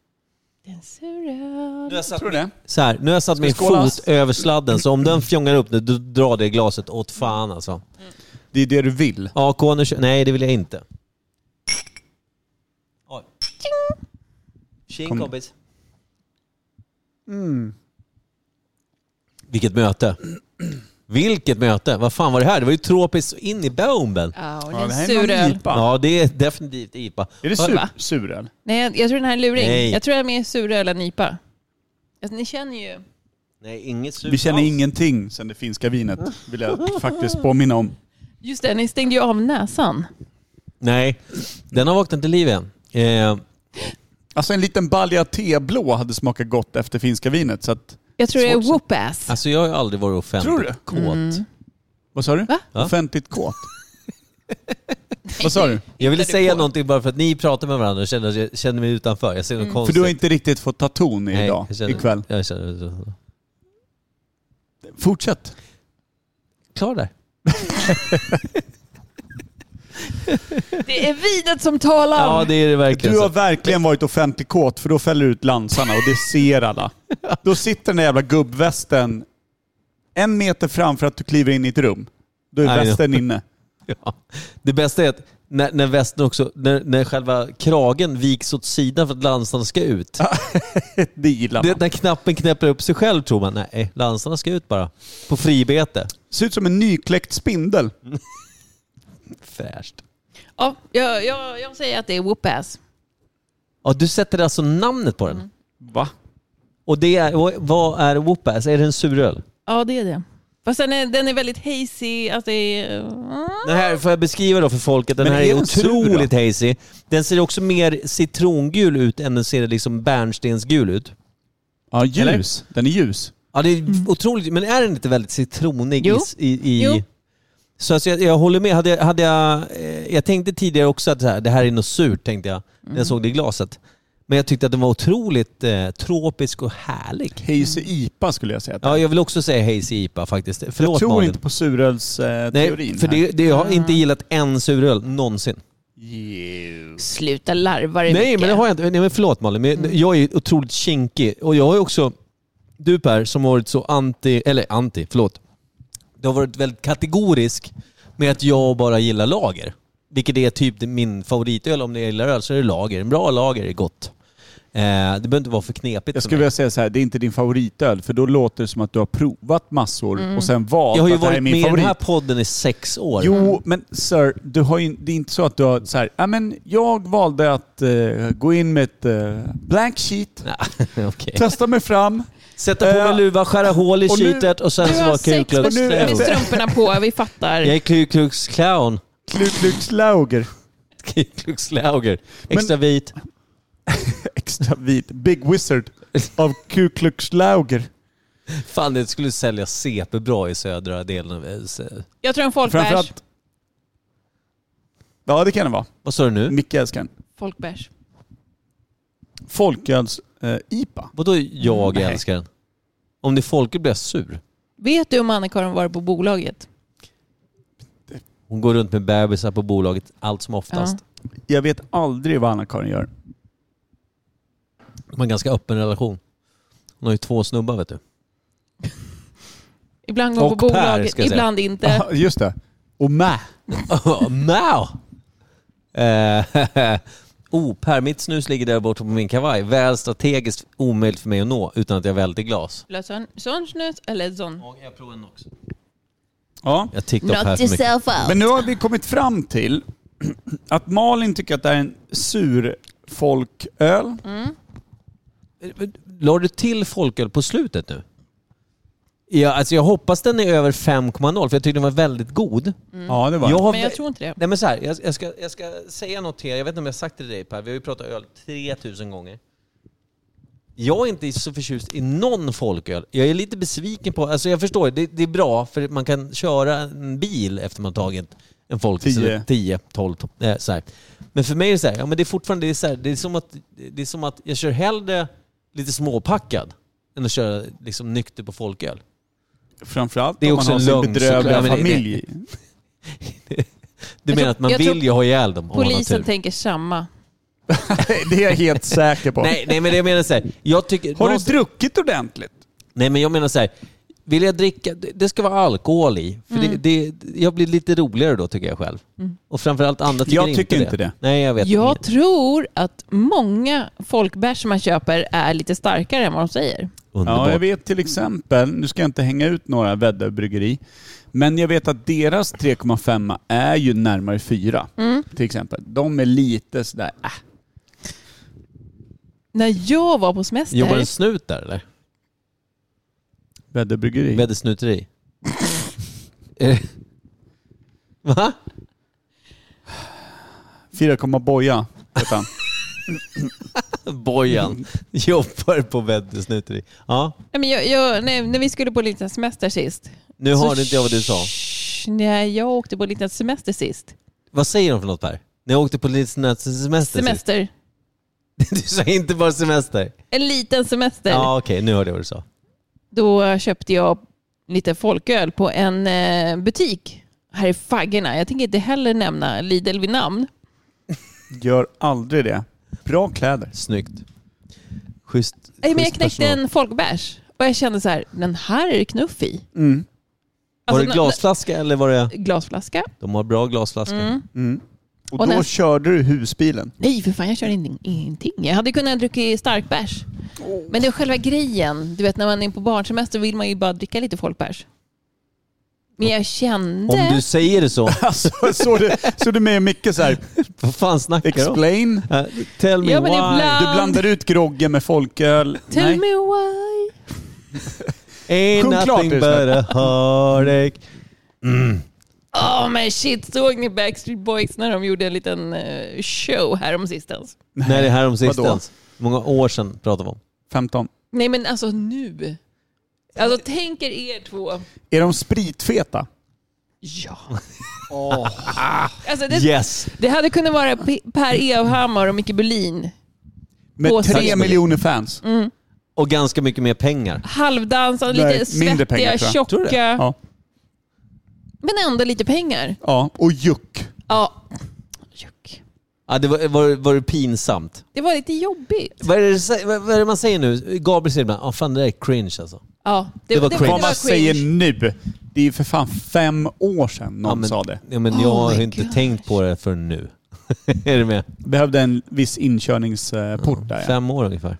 Speaker 2: Den sura.
Speaker 1: Nu har jag satt,
Speaker 3: Tror du det?
Speaker 1: så här, nu har jag satt
Speaker 3: Ska vi
Speaker 1: min
Speaker 3: skåla?
Speaker 1: fot över sladden så om den fjongar upp nu, då drar det glaset åt fan alltså.
Speaker 3: Det är det du vill.
Speaker 1: Ja, Kone, nej det vill jag inte. Oj. Tjing
Speaker 3: Kom. Mm.
Speaker 1: kompis. Vilket möte. Vilket möte. Vad fan var det här? Det var ju tropiskt så in i bomben.
Speaker 2: Ja, och
Speaker 3: Ja,
Speaker 2: den
Speaker 3: det här är
Speaker 2: sura.
Speaker 3: någon IPA.
Speaker 1: Ja, det är definitivt IPA.
Speaker 3: Är det
Speaker 1: Vad-
Speaker 3: sur, suröl?
Speaker 2: Nej, jag, jag tror den här är luring.
Speaker 1: Nej.
Speaker 2: Jag tror jag är mer suröl än IPA. Alltså, ni känner ju.
Speaker 1: Nej, inget surt
Speaker 3: Vi känner
Speaker 1: alls.
Speaker 3: ingenting sen det finska vinet, vill jag faktiskt påminna om.
Speaker 2: Just det, ni stängde ju av näsan.
Speaker 1: Nej, den har vaknat till liv igen. Eh,
Speaker 3: Alltså en liten balja teblå hade smakat gott efter finska vinet. Så att,
Speaker 2: Jag tror
Speaker 3: Svårt
Speaker 2: det är
Speaker 3: att säga.
Speaker 2: whoop-ass.
Speaker 1: alltså jag har ju aldrig varit offentligt
Speaker 3: Tror du?
Speaker 1: kåt.
Speaker 3: vad sa du?
Speaker 2: Va?
Speaker 1: Va?
Speaker 3: Offentligt kåt. vad sa du?
Speaker 1: Jag ville
Speaker 2: Hittar du
Speaker 1: säga
Speaker 2: på?
Speaker 1: någonting bara för att ni pratar med varandra och känner, jag känner mig utanför. Jag ser något
Speaker 3: För
Speaker 1: konstigt.
Speaker 3: du har inte riktigt fått ta ton i
Speaker 1: Nej,
Speaker 3: idag,
Speaker 1: jag känner-
Speaker 3: ikväll.
Speaker 1: Jag känner så.
Speaker 3: Fortsätt.
Speaker 1: Klar där.
Speaker 2: Det är vinet som talar.
Speaker 1: Ja, det är det verkligen.
Speaker 3: Du har
Speaker 1: Så.
Speaker 3: verkligen varit offentligt kåt för då fäller du ut lansarna och det ser *laughs* alla. Då sitter den där jävla gubbvästen en meter framför att du kliver in i ett rum. Då
Speaker 1: Nej,
Speaker 3: är
Speaker 1: då.
Speaker 3: västen inne.
Speaker 1: *laughs* Ja. Det bästa är att när, när västen också, när, när själva kragen viks åt sidan för att lansarna ska ut.
Speaker 3: Det gillar man.
Speaker 1: Det, när knappen knäpper upp sig själv tror man, nej, lansarna ska ut bara. På fribete.
Speaker 3: Ser ut som en nykläckt spindel.
Speaker 1: Fräscht.
Speaker 2: Ja, jag, jag, jag säger att det är whoop-ass.
Speaker 1: Ja, du sätter alltså namnet på den.
Speaker 2: Mm.
Speaker 3: Va?
Speaker 1: Och det är, och vad är Whoopass? Är det en suröl?
Speaker 2: Ja, det är det. Fast den är, den är väldigt hazy. Alltså, det är,
Speaker 1: Den här får jag beskriva då för folket. Den
Speaker 3: Men
Speaker 1: här
Speaker 3: är
Speaker 1: är
Speaker 3: den sur
Speaker 1: otroligt hazy. Den ser också mer citrongul ut än den ser liksom bärnstensgul ut.
Speaker 3: Ja, ljus. Den är ljus.
Speaker 1: Ja, det är otroligt. Men är den inte väldigt citronig? i-
Speaker 2: Mm. Jo.
Speaker 1: I, i,
Speaker 2: Jo.
Speaker 1: Så alltså jag, jag håller med. Hade, jag- hade jag, eh, jag tänkte tidigare också att det här, det här är något surt, tänkte jag, när
Speaker 2: Mm.
Speaker 1: jag såg det i glaset. Men jag tyckte att den var otroligt eh, tropisk och härlig.
Speaker 3: Hazy IPA skulle jag säga. att det är.
Speaker 1: Ja, jag vill också säga hazy IPA faktiskt. Förlåt
Speaker 3: jag tror
Speaker 1: Malin.
Speaker 3: inte på eh, Ah. surölsteorin.
Speaker 1: Nej, för det, det, jag har inte gillat en suröl någonsin.
Speaker 2: Sluta larva dig
Speaker 1: Nej,
Speaker 2: Micke.
Speaker 1: men det har jag inte. Nej, men förlåt Malin, men
Speaker 3: Mm.
Speaker 1: jag- jag är ju otroligt kinkig. Och jag har ju också, du Per, som har varit så anti, eller anti, förlåt. Du har varit väldigt kategorisk med att jag bara gillar lager. Vilket är typ min favoritöl. Om jag gillar öl så är det lager. En bra lager är gott. Eh, det behöver inte vara för knepigt
Speaker 3: Jag
Speaker 1: för
Speaker 3: skulle
Speaker 1: mig.
Speaker 3: vilja säga så här, det är inte din favoritöl för då låter det som att du har provat massor och sen valt
Speaker 1: Jag har ju
Speaker 3: att det här är
Speaker 1: varit med
Speaker 3: min
Speaker 1: i den
Speaker 3: favorit.
Speaker 1: här podden i sex år.
Speaker 3: Jo, men sir, du har ju, det är inte så att du har så här, "Ja, men jag valde att eh, gå in med ett eh, blank sheet,
Speaker 1: *laughs* Nej, Okej.
Speaker 3: testa mig fram,
Speaker 1: Sätta på mig
Speaker 3: Eh,
Speaker 1: luva, skära hål i
Speaker 3: och nu-
Speaker 1: kittet och sen
Speaker 2: Du
Speaker 1: så
Speaker 2: har
Speaker 1: var
Speaker 2: sex med,
Speaker 1: Kuklux
Speaker 3: nu-
Speaker 2: med
Speaker 1: clown.
Speaker 2: strumporna på, vi fattar.
Speaker 1: Jag är Kuklux *laughs* clown.
Speaker 3: Kluklukslauger.
Speaker 1: Kuklux lauger. Extra vit.
Speaker 3: *laughs* Extra vit. Big Wizard av Kuklukslauger.
Speaker 1: Fan, det skulle sälja CP bra i södra delen av... eh,
Speaker 2: Jag tror en folkbärs.
Speaker 3: Framförallt... Ja, det kan det vara.
Speaker 1: Vad sa du nu?
Speaker 3: Micke älskar den.
Speaker 2: folkbärs.
Speaker 3: Folköls-IPA.
Speaker 1: Vadå jag
Speaker 3: Nej.
Speaker 1: älskar den? Om det är folket blir jag sur.
Speaker 2: Vet du om Anna-Karin var på bolaget?
Speaker 1: Hon går runt med bebisar på bolaget allt som oftast.
Speaker 3: jag vet aldrig vad Anna-Karin gör.
Speaker 1: De har en ganska öppen relation. Hon har ju två snubbar vet du.
Speaker 2: Ibland går hon
Speaker 1: Och
Speaker 2: på
Speaker 1: Per,
Speaker 2: bolaget,
Speaker 1: ska jag säga.
Speaker 2: ibland inte.
Speaker 3: Ah, just det.
Speaker 1: *laughs*
Speaker 3: Och mä.
Speaker 1: Now! Eh, *laughs* oh, Per, mitt snus ligger där borta på min kavaj. Väl strategiskt omöjligt för mig att nå utan att jag välter glas.
Speaker 2: Vill du ha sån- Sån snus eller sån?
Speaker 1: Jag provar en också.
Speaker 3: Ja.
Speaker 1: Jag tickade upp här för mycket.
Speaker 2: out.
Speaker 3: Men nu har vi kommit fram till *clears throat* att Malin tycker att det här är en sur folköl.
Speaker 1: La du till folköl på slutet nu? Ja, alltså jag hoppas den är över 5,0 för jag tyckte den var väldigt god.
Speaker 3: Ja, det var
Speaker 1: Jag har
Speaker 2: Mm. Men jag tror inte det.
Speaker 1: Nej men så här, jag, jag, ska, jag ska säga något till er. Jag vet inte om jag har sagt det till dig Per, vi har ju pratat öl 3000 gånger. Jag är inte så förtjust i någon folköl. Jag är lite besviken på, alltså jag förstår, det, det är bra för man kan köra en bil efter man tagit en folköl.
Speaker 3: Tio.
Speaker 1: 10, 12, eh, så här. Men för mig är det så här, ja, men det är fortfarande det är så här, det är som att, det är som att jag kör hellre lite småpackad än att köra liksom, nykter på folköl.
Speaker 3: Framförallt
Speaker 1: Det är
Speaker 3: om
Speaker 1: också
Speaker 3: man har
Speaker 1: lugn,
Speaker 3: sin bedrövliga
Speaker 1: såklart. Ja, men det-
Speaker 3: familj.
Speaker 1: Du
Speaker 2: Jag
Speaker 1: menar
Speaker 2: tror-
Speaker 1: att man
Speaker 2: jag
Speaker 1: vill
Speaker 2: tror-
Speaker 1: ju ha ihjäl dem? om man har tur.
Speaker 2: Polisen tänker samma.
Speaker 3: *laughs* Det är jag helt säker på.
Speaker 1: Nej, nej men det jag menar så här, jag tycker...
Speaker 3: Har du
Speaker 1: någonstans-
Speaker 3: druckit ordentligt?
Speaker 1: Nej men jag menar så här. vill jag dricka, det- det ska vara alkohol i. För
Speaker 2: Mm.
Speaker 1: det, det, jag blir lite roligare då tycker jag själv. Och framförallt andra tycker,
Speaker 3: Jag tycker
Speaker 1: inte,
Speaker 3: inte
Speaker 1: det.
Speaker 3: det.
Speaker 1: Nej jag vet
Speaker 2: Jag
Speaker 1: inte.
Speaker 2: tror att många folkbärs man köper är lite starkare än vad de säger.
Speaker 1: Underbart.
Speaker 3: Ja, jag vet till exempel, nu ska jag inte hänga ut några Väddö bryggeri, men jag vet att deras 3,5 är ju närmare 4.
Speaker 2: Mm.
Speaker 3: Till exempel. De är lite sådär, äh,
Speaker 2: När jag var på semester,
Speaker 1: Jobbar en snut där eller?
Speaker 3: Väddö bryggeri.
Speaker 1: Med ett snuteri? *laughs* Är det- Va?
Speaker 3: Fyra komma boja, vet
Speaker 1: *laughs*
Speaker 3: han. *laughs*
Speaker 1: Bojan jobbar på Väddö snuteri. Ja,
Speaker 2: nej, men jag, jag, nej, när vi skulle på en liten semester sist.
Speaker 1: nu
Speaker 2: så-
Speaker 1: hörde inte jag vad du sa.
Speaker 2: Shh, Nej, jag åkte på en liten semester sist.
Speaker 1: Vad säger de för något Per? När jag åkte på lite semester? semester.
Speaker 2: Semester.
Speaker 1: *laughs* du sa inte bara semester?
Speaker 2: En liten semester.
Speaker 1: Ja okej, nu hörde jag vad du sa.
Speaker 2: Då köpte jag lite folköl på en eh, butik här i Faggorna. Jag tänker inte heller nämna Lidl vid namn.
Speaker 3: Gör aldrig det. Bra kläder.
Speaker 1: Snyggt. Schysst,
Speaker 2: Nej, men jag
Speaker 1: schysst
Speaker 2: knäckte
Speaker 1: personal.
Speaker 2: en folkbärs och jag kände så här, den här är det knuff i.
Speaker 3: Mm.
Speaker 1: Var
Speaker 2: Alltså,
Speaker 1: det glasflaska eller var det...
Speaker 2: n- n- Glasflaska.
Speaker 1: De har bra glasflaskor.
Speaker 2: Mm.
Speaker 3: Och,
Speaker 2: Och
Speaker 3: då
Speaker 2: näst-
Speaker 3: körde du husbilen.
Speaker 2: Nej, för fan jag kör in- ingenting. Jag hade kunnat dricka starkbärs. Men det är själva grejen. Du vet när man är på barnsemester vill man ju bara dricka lite folkbärs. Men jag kände...
Speaker 1: Om du säger det så,
Speaker 3: Alltså, såg du, såg du mig och Micke
Speaker 1: *laughs*
Speaker 3: så här,
Speaker 1: vad fan snackar du om?
Speaker 3: explain?
Speaker 1: Eh, Tell me
Speaker 2: Ja, men
Speaker 1: why.
Speaker 2: ibland-
Speaker 3: Du blandar ut groggen med folköl.
Speaker 2: Tell
Speaker 3: Nej.
Speaker 2: me why.
Speaker 1: Ain't
Speaker 3: Sjung klart
Speaker 1: nothing
Speaker 3: det,
Speaker 1: but a heartache.
Speaker 2: Åh Oh, men shit, såg ni Backstreet Boys när de gjorde en liten eh, show häromsistens?
Speaker 1: Nej, det här om
Speaker 3: Vadå?
Speaker 1: sistens. Många år sedan pratade vi om.
Speaker 3: 15.
Speaker 2: Nej men alltså nu. Alltså tänk er er två.
Speaker 3: Är de spritfeta?
Speaker 2: Ja. Alltså, det,
Speaker 1: Yes!
Speaker 2: det hade kunnat vara P- Per Evhammar och Micke Berlin.
Speaker 3: Med
Speaker 2: Åsa.
Speaker 3: tre miljoner fans.
Speaker 1: Och ganska mycket mer pengar.
Speaker 2: Halvdansande,
Speaker 3: Nej,
Speaker 2: Mm, lite svettiga,
Speaker 3: mindre pengar, tror jag.
Speaker 1: Tror du
Speaker 2: tjocka.
Speaker 1: det?
Speaker 3: Ja.
Speaker 2: Men ändå lite pengar.
Speaker 3: ja. Och juck.
Speaker 2: Ja. Juck.
Speaker 1: Ja, det var, var, var det pinsamt.
Speaker 2: Det var lite jobbigt.
Speaker 1: Vad är, det, du säger- vad, vad är det man säger nu? Gabriel säger ibland, ah, fan det där är cringe alltså.
Speaker 2: Ja, det,
Speaker 1: Det var cringe.
Speaker 3: Vad man säger nu. Det är ju för fan fem år sedan någon
Speaker 1: ja, men,
Speaker 3: sa det.
Speaker 1: Ja, men jag
Speaker 2: Oh
Speaker 1: har
Speaker 2: my
Speaker 1: inte
Speaker 2: gosh.
Speaker 1: tänkt på det förrän nu. *laughs* är du med?
Speaker 3: Behövde en viss inkörningsport där. Ja.
Speaker 1: Fem år ungefär.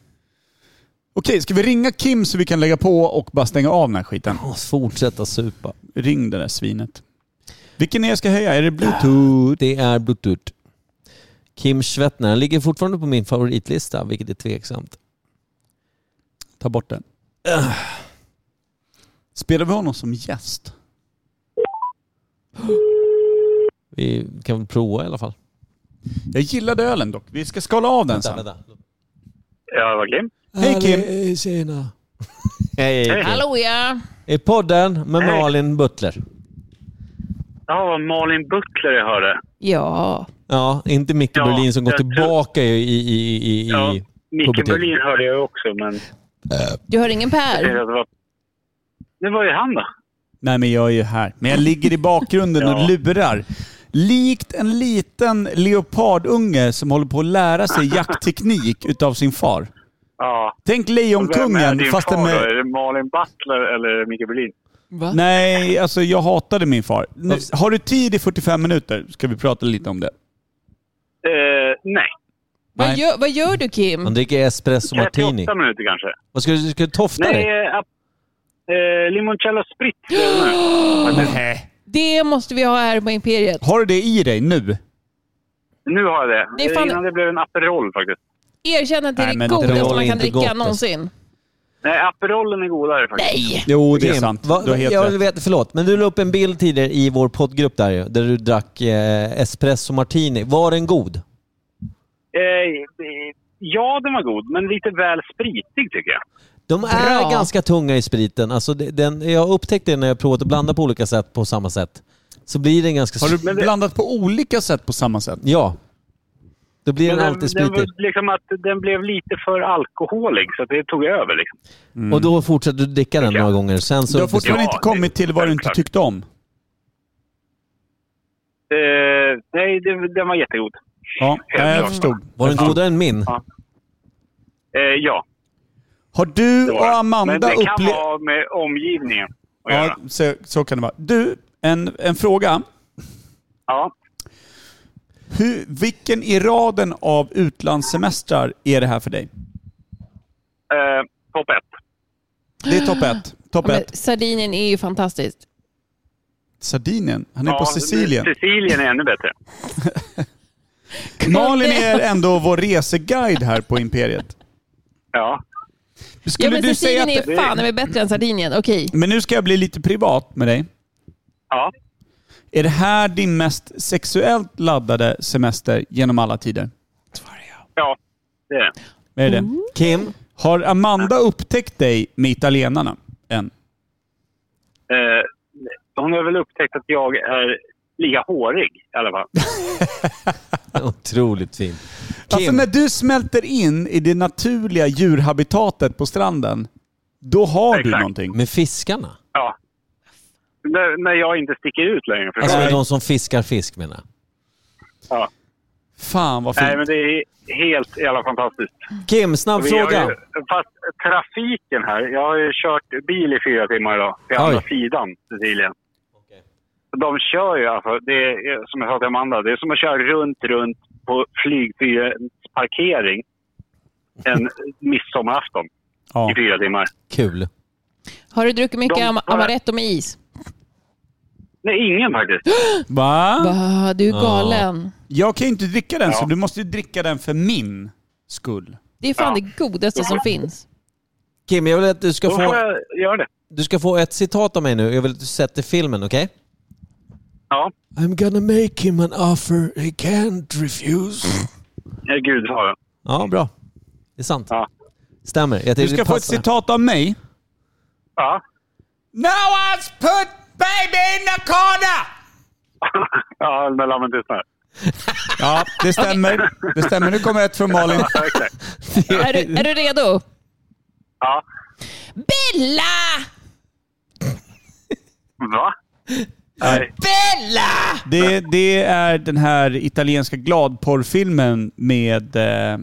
Speaker 3: Okej, ska vi ringa Kim så vi kan lägga på och bara stänga av den här skiten?
Speaker 1: Och fortsätta supa.
Speaker 3: Ring det där svinet. Vilken är jag ska höja? Är det bluetooth?
Speaker 1: Det är Bluetooth. Kim Schwettner. Han ligger fortfarande på min favoritlista, vilket är tveksamt.
Speaker 3: Ta bort den. Spelar vi honom som gäst?
Speaker 1: Vi kan väl prova i alla fall.
Speaker 3: Jag gillade ölen dock. Vi ska skala av den sen.
Speaker 10: Ja, det var grymt.
Speaker 3: Hej Kim!
Speaker 1: Hej, tjena. Hej. Hej.
Speaker 2: Hallå ja!
Speaker 1: I podden med Malin Butler.
Speaker 10: Ja, vad Malin Butler jag hörde.
Speaker 2: Ja.
Speaker 1: Ja, inte Micke
Speaker 10: Ja,
Speaker 1: Berlin som går
Speaker 10: jag tror-
Speaker 1: tillbaka i... i, i, i, i
Speaker 10: Ja, Micke
Speaker 1: KBT.
Speaker 10: Berlin hörde jag också, men
Speaker 2: Du hör ingen Per?
Speaker 10: det
Speaker 3: Mm.
Speaker 10: var, det var ju han då.
Speaker 3: Nej men jag är ju här. Men jag ligger i bakgrunden
Speaker 10: *laughs* Ja.
Speaker 3: och lurar. Likt en liten leopardunge som håller på att lära
Speaker 10: *laughs*
Speaker 3: sig jaktteknik utav sin far.
Speaker 10: Ja.
Speaker 3: Tänk
Speaker 10: Och vem är
Speaker 3: Lejonkungen
Speaker 10: din
Speaker 3: fast
Speaker 10: far
Speaker 3: den
Speaker 10: då?
Speaker 3: med...
Speaker 10: Är det Malin Butler eller Micke Berlin?
Speaker 2: Va?
Speaker 3: Nej, alltså jag hatade min far. Nu, har du tid i 45 minuter? Ska vi prata lite om det.
Speaker 10: Eh, nej,
Speaker 2: Vad,
Speaker 3: Nej.
Speaker 2: gör, vad gör du
Speaker 1: Han
Speaker 2: Kim?
Speaker 1: dricker espresso
Speaker 10: 38
Speaker 1: martini.
Speaker 10: minuter kanske.
Speaker 1: Vad ska du, ska du tofta
Speaker 10: Nej,
Speaker 1: dig?
Speaker 10: eh, ap- eh, limoncello spritz. eller?
Speaker 2: *gasps*
Speaker 3: Nej.
Speaker 2: Det måste vi ha här på Imperiet.
Speaker 3: Har du det i dig nu?
Speaker 10: Nu har jag det.
Speaker 2: Det är fan-
Speaker 10: Innan det blev en Aperol faktiskt.
Speaker 2: Erkänn att det
Speaker 3: Nej,
Speaker 2: är det
Speaker 3: men det
Speaker 2: godaste
Speaker 1: var
Speaker 2: man kan
Speaker 1: inte
Speaker 2: dricka
Speaker 1: gott, alltså.
Speaker 2: någonsin.
Speaker 10: Nej, Aperolen är godare faktiskt.
Speaker 2: Nej!
Speaker 3: Jo, det är
Speaker 1: Kim,
Speaker 3: sant.
Speaker 1: vad-
Speaker 3: Du har helt
Speaker 1: jag
Speaker 3: rätt.
Speaker 1: vet, förlåt, men du la upp en bild tidigare i vår poddgrupp där, ju, där du drack eh, espresso martini. Var den god?
Speaker 10: Eh, eh, ja, den var god, men lite väl spritig tycker jag.
Speaker 1: De är
Speaker 2: Bra.
Speaker 1: ganska tunga i spriten. Alltså det- den, jag upptäckte det när jag provat att blanda på olika sätt på samma sätt. Så blir den ganska...
Speaker 3: Har du
Speaker 10: det-
Speaker 3: blandat på olika sätt på samma sätt?
Speaker 1: Ja. Då blir den
Speaker 10: Men
Speaker 1: alltid
Speaker 10: den,
Speaker 1: spritig.
Speaker 10: var liksom att den blev lite för alkoholig, så att det tog över. Liksom.
Speaker 1: Och då fortsätter du dricka den
Speaker 10: Ja.
Speaker 1: några gånger. Sen så...
Speaker 3: Du har fortfarande
Speaker 10: Ja,
Speaker 3: inte kommit till vad du inte
Speaker 10: självklart.
Speaker 3: tyckte om.
Speaker 10: Eh, nej, det, den var jättegod.
Speaker 3: Ja,
Speaker 10: Helt
Speaker 3: jag
Speaker 10: klart.
Speaker 3: förstod.
Speaker 1: Var den godare än min?
Speaker 10: Eh, ja,
Speaker 3: Har du
Speaker 10: det var
Speaker 3: och
Speaker 10: den.
Speaker 3: Amanda
Speaker 10: Men det kan
Speaker 3: upplevt...
Speaker 10: ha med omgivningen att
Speaker 3: Ja,
Speaker 10: göra.
Speaker 3: så, så kan det vara. Du, en, en fråga.
Speaker 10: Ja.
Speaker 3: Hur, vilken i raden av utlandssemestrar är det här för dig?
Speaker 10: Eh, topp ett.
Speaker 3: Det är topp ett. Topp
Speaker 2: Ja, men
Speaker 3: ett.
Speaker 2: Sardinien är ju fantastiskt.
Speaker 3: Sardinien. Han är
Speaker 10: Ja,
Speaker 3: på Sicilien.
Speaker 10: Sicilien är ännu bättre.
Speaker 3: Malin är ändå vår reseguide här på Imperiet.
Speaker 10: Ja.
Speaker 2: Ja,
Speaker 3: Skulle
Speaker 2: men
Speaker 3: du säga
Speaker 2: Sicilien
Speaker 3: att,
Speaker 2: är fan är bättre än Sardinien. Okej.
Speaker 3: Men nu ska jag bli lite privat med dig.
Speaker 10: ja.
Speaker 3: Är det här din mest sexuellt laddade semester genom alla tider?
Speaker 10: Ja, det är det.
Speaker 3: Är det?
Speaker 2: Mm.
Speaker 1: Kim?
Speaker 3: Har Amanda upptäckt dig med italienarna än?
Speaker 10: Eh, hon har väl upptäckt att jag är lika hårig i
Speaker 3: *laughs*
Speaker 10: alla fall.
Speaker 1: Otroligt fin.
Speaker 3: Alltså när du smälter in i det naturliga djurhabitatet på stranden, då har du
Speaker 10: Exakt.
Speaker 3: någonting.
Speaker 1: Med fiskarna?
Speaker 10: Ja. När, när jag inte sticker ut längre. Förstår
Speaker 1: Alltså
Speaker 10: du?
Speaker 1: med de som fiskar fisk menar jag.
Speaker 10: ja.
Speaker 3: Fan vad
Speaker 10: Nej,
Speaker 3: fint.
Speaker 10: men det är helt jävla fantastiskt.
Speaker 1: Kim, snabb
Speaker 10: Vi har
Speaker 1: fråga.
Speaker 10: ju, fast trafiken här. Jag har ju kört bil i fyra timmar idag. Till
Speaker 1: Oj.
Speaker 10: andra sidan Sicilien. De kör ju alltså. Det är, som jag sa till Amanda. Det är som att köra runt, runt på flygfyrens parkering
Speaker 1: *laughs*
Speaker 10: en midsommarafton
Speaker 3: Ja.
Speaker 10: i fyra timmar.
Speaker 1: Kul.
Speaker 2: Har du druckit mycket
Speaker 10: De-
Speaker 2: am- Amaretto med is?
Speaker 10: Nej, ingen faktiskt.
Speaker 3: Va?
Speaker 2: Va, du är galen.
Speaker 3: Jag kan ju inte dricka den så
Speaker 10: Ja.
Speaker 3: du måste ju dricka den för min skull.
Speaker 2: Det är fan
Speaker 10: Ja.
Speaker 2: det godaste som finns.
Speaker 1: Kim, *gasps* jag vill att du ska
Speaker 10: Då får
Speaker 1: få,
Speaker 10: jag göra det.
Speaker 1: du ska få ett citat av mig nu. Jag vill att du sätter filmen, okej?
Speaker 10: Ja.
Speaker 1: I'm gonna make him an offer he can't refuse.
Speaker 10: Eh, Gud har jag.
Speaker 1: Ja, bra. Det är sant.
Speaker 10: Ja.
Speaker 1: Stämmer. Jag
Speaker 3: Du
Speaker 1: tycker
Speaker 3: ska
Speaker 1: det
Speaker 3: få ett
Speaker 1: passar.
Speaker 3: citat av mig.
Speaker 10: Ja.
Speaker 3: Now I've put baby in the corner!
Speaker 10: *laughs* ja, när lammen
Speaker 1: *laughs*
Speaker 10: tystnar.
Speaker 3: Ja, det
Speaker 10: *laughs*
Speaker 3: stämmer. Det stämmer. Nu kommer ett från Malin.
Speaker 10: Ja, exakt.
Speaker 2: Är du, är du redo?
Speaker 10: Ja.
Speaker 2: Bella!
Speaker 10: Va? Nej.
Speaker 2: Bella!
Speaker 3: Det, det är den här italienska gladporrfilmen med eh,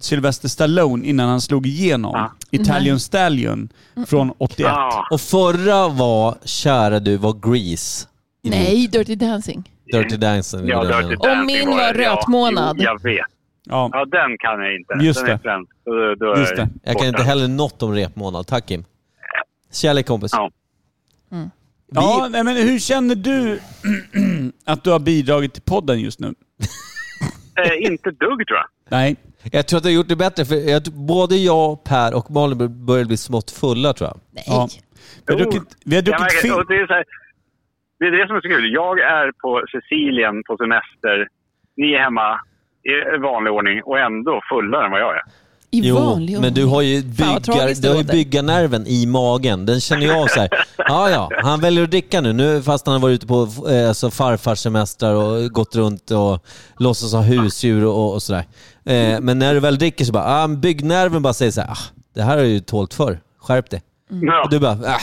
Speaker 3: Sylvester Stallone innan han slog igenom.
Speaker 10: Ah.
Speaker 3: Italian Stallion från 81.
Speaker 10: Ja.
Speaker 1: Och förra var, kära du, var Grease.
Speaker 2: Nej, Dirty Dancing.
Speaker 1: Dirty Dancing.
Speaker 10: Ja,
Speaker 1: Den.
Speaker 10: Dirty
Speaker 2: Om
Speaker 10: Dancing
Speaker 2: min var
Speaker 10: det.
Speaker 2: rötmånad.
Speaker 10: Ja, jo, jag vet.
Speaker 3: Ja,
Speaker 10: Ja, den kan jag inte.
Speaker 3: Just
Speaker 10: den är
Speaker 3: det.
Speaker 10: svensk. Så då- då är
Speaker 3: just det.
Speaker 1: Jag kan inte
Speaker 10: borta.
Speaker 1: heller något om repmånad. Tack Kim. Kärlek kompis.
Speaker 10: Ja.
Speaker 3: Ja, nej, men hur känner du *clears throat* att du har bidragit till podden just nu?
Speaker 10: Eh, inte dugg tror jag.
Speaker 3: Nej.
Speaker 1: Jag tror att jag har gjort det bättre, för jag, både jag, Per och Malin börjar bli smått fulla tror jag.
Speaker 2: Nej.
Speaker 3: Ja. Vi har druckit, vi har
Speaker 10: Jag
Speaker 3: druckit
Speaker 10: märker-
Speaker 3: film.
Speaker 10: och det, är så här, det är det som är så kul. Jag är på Sicilien på semester. Ni är hemma i vanlig ordning och ändå fullare än vad jag är.
Speaker 2: I vanlig
Speaker 1: men du har ju,
Speaker 2: Fan, vad
Speaker 1: byggar,
Speaker 2: tragiskt
Speaker 1: du har ju
Speaker 2: låter.
Speaker 1: byggarnerven i magen. Den känner jag av så
Speaker 2: *laughs*
Speaker 1: här. Ja, ja, han väljer att dricka nu, nu fast han har varit ute på eh, alltså farfarssemestrar och gått runt och låtsas ha husdjur och, och sådär. Eh, men när du väl dricker så bara, ah, men byggnerven bara säger så här, ah, det här har jag ju tålt för. skärp dig.
Speaker 2: Mm.
Speaker 10: Ja.
Speaker 1: Och du bara, ah,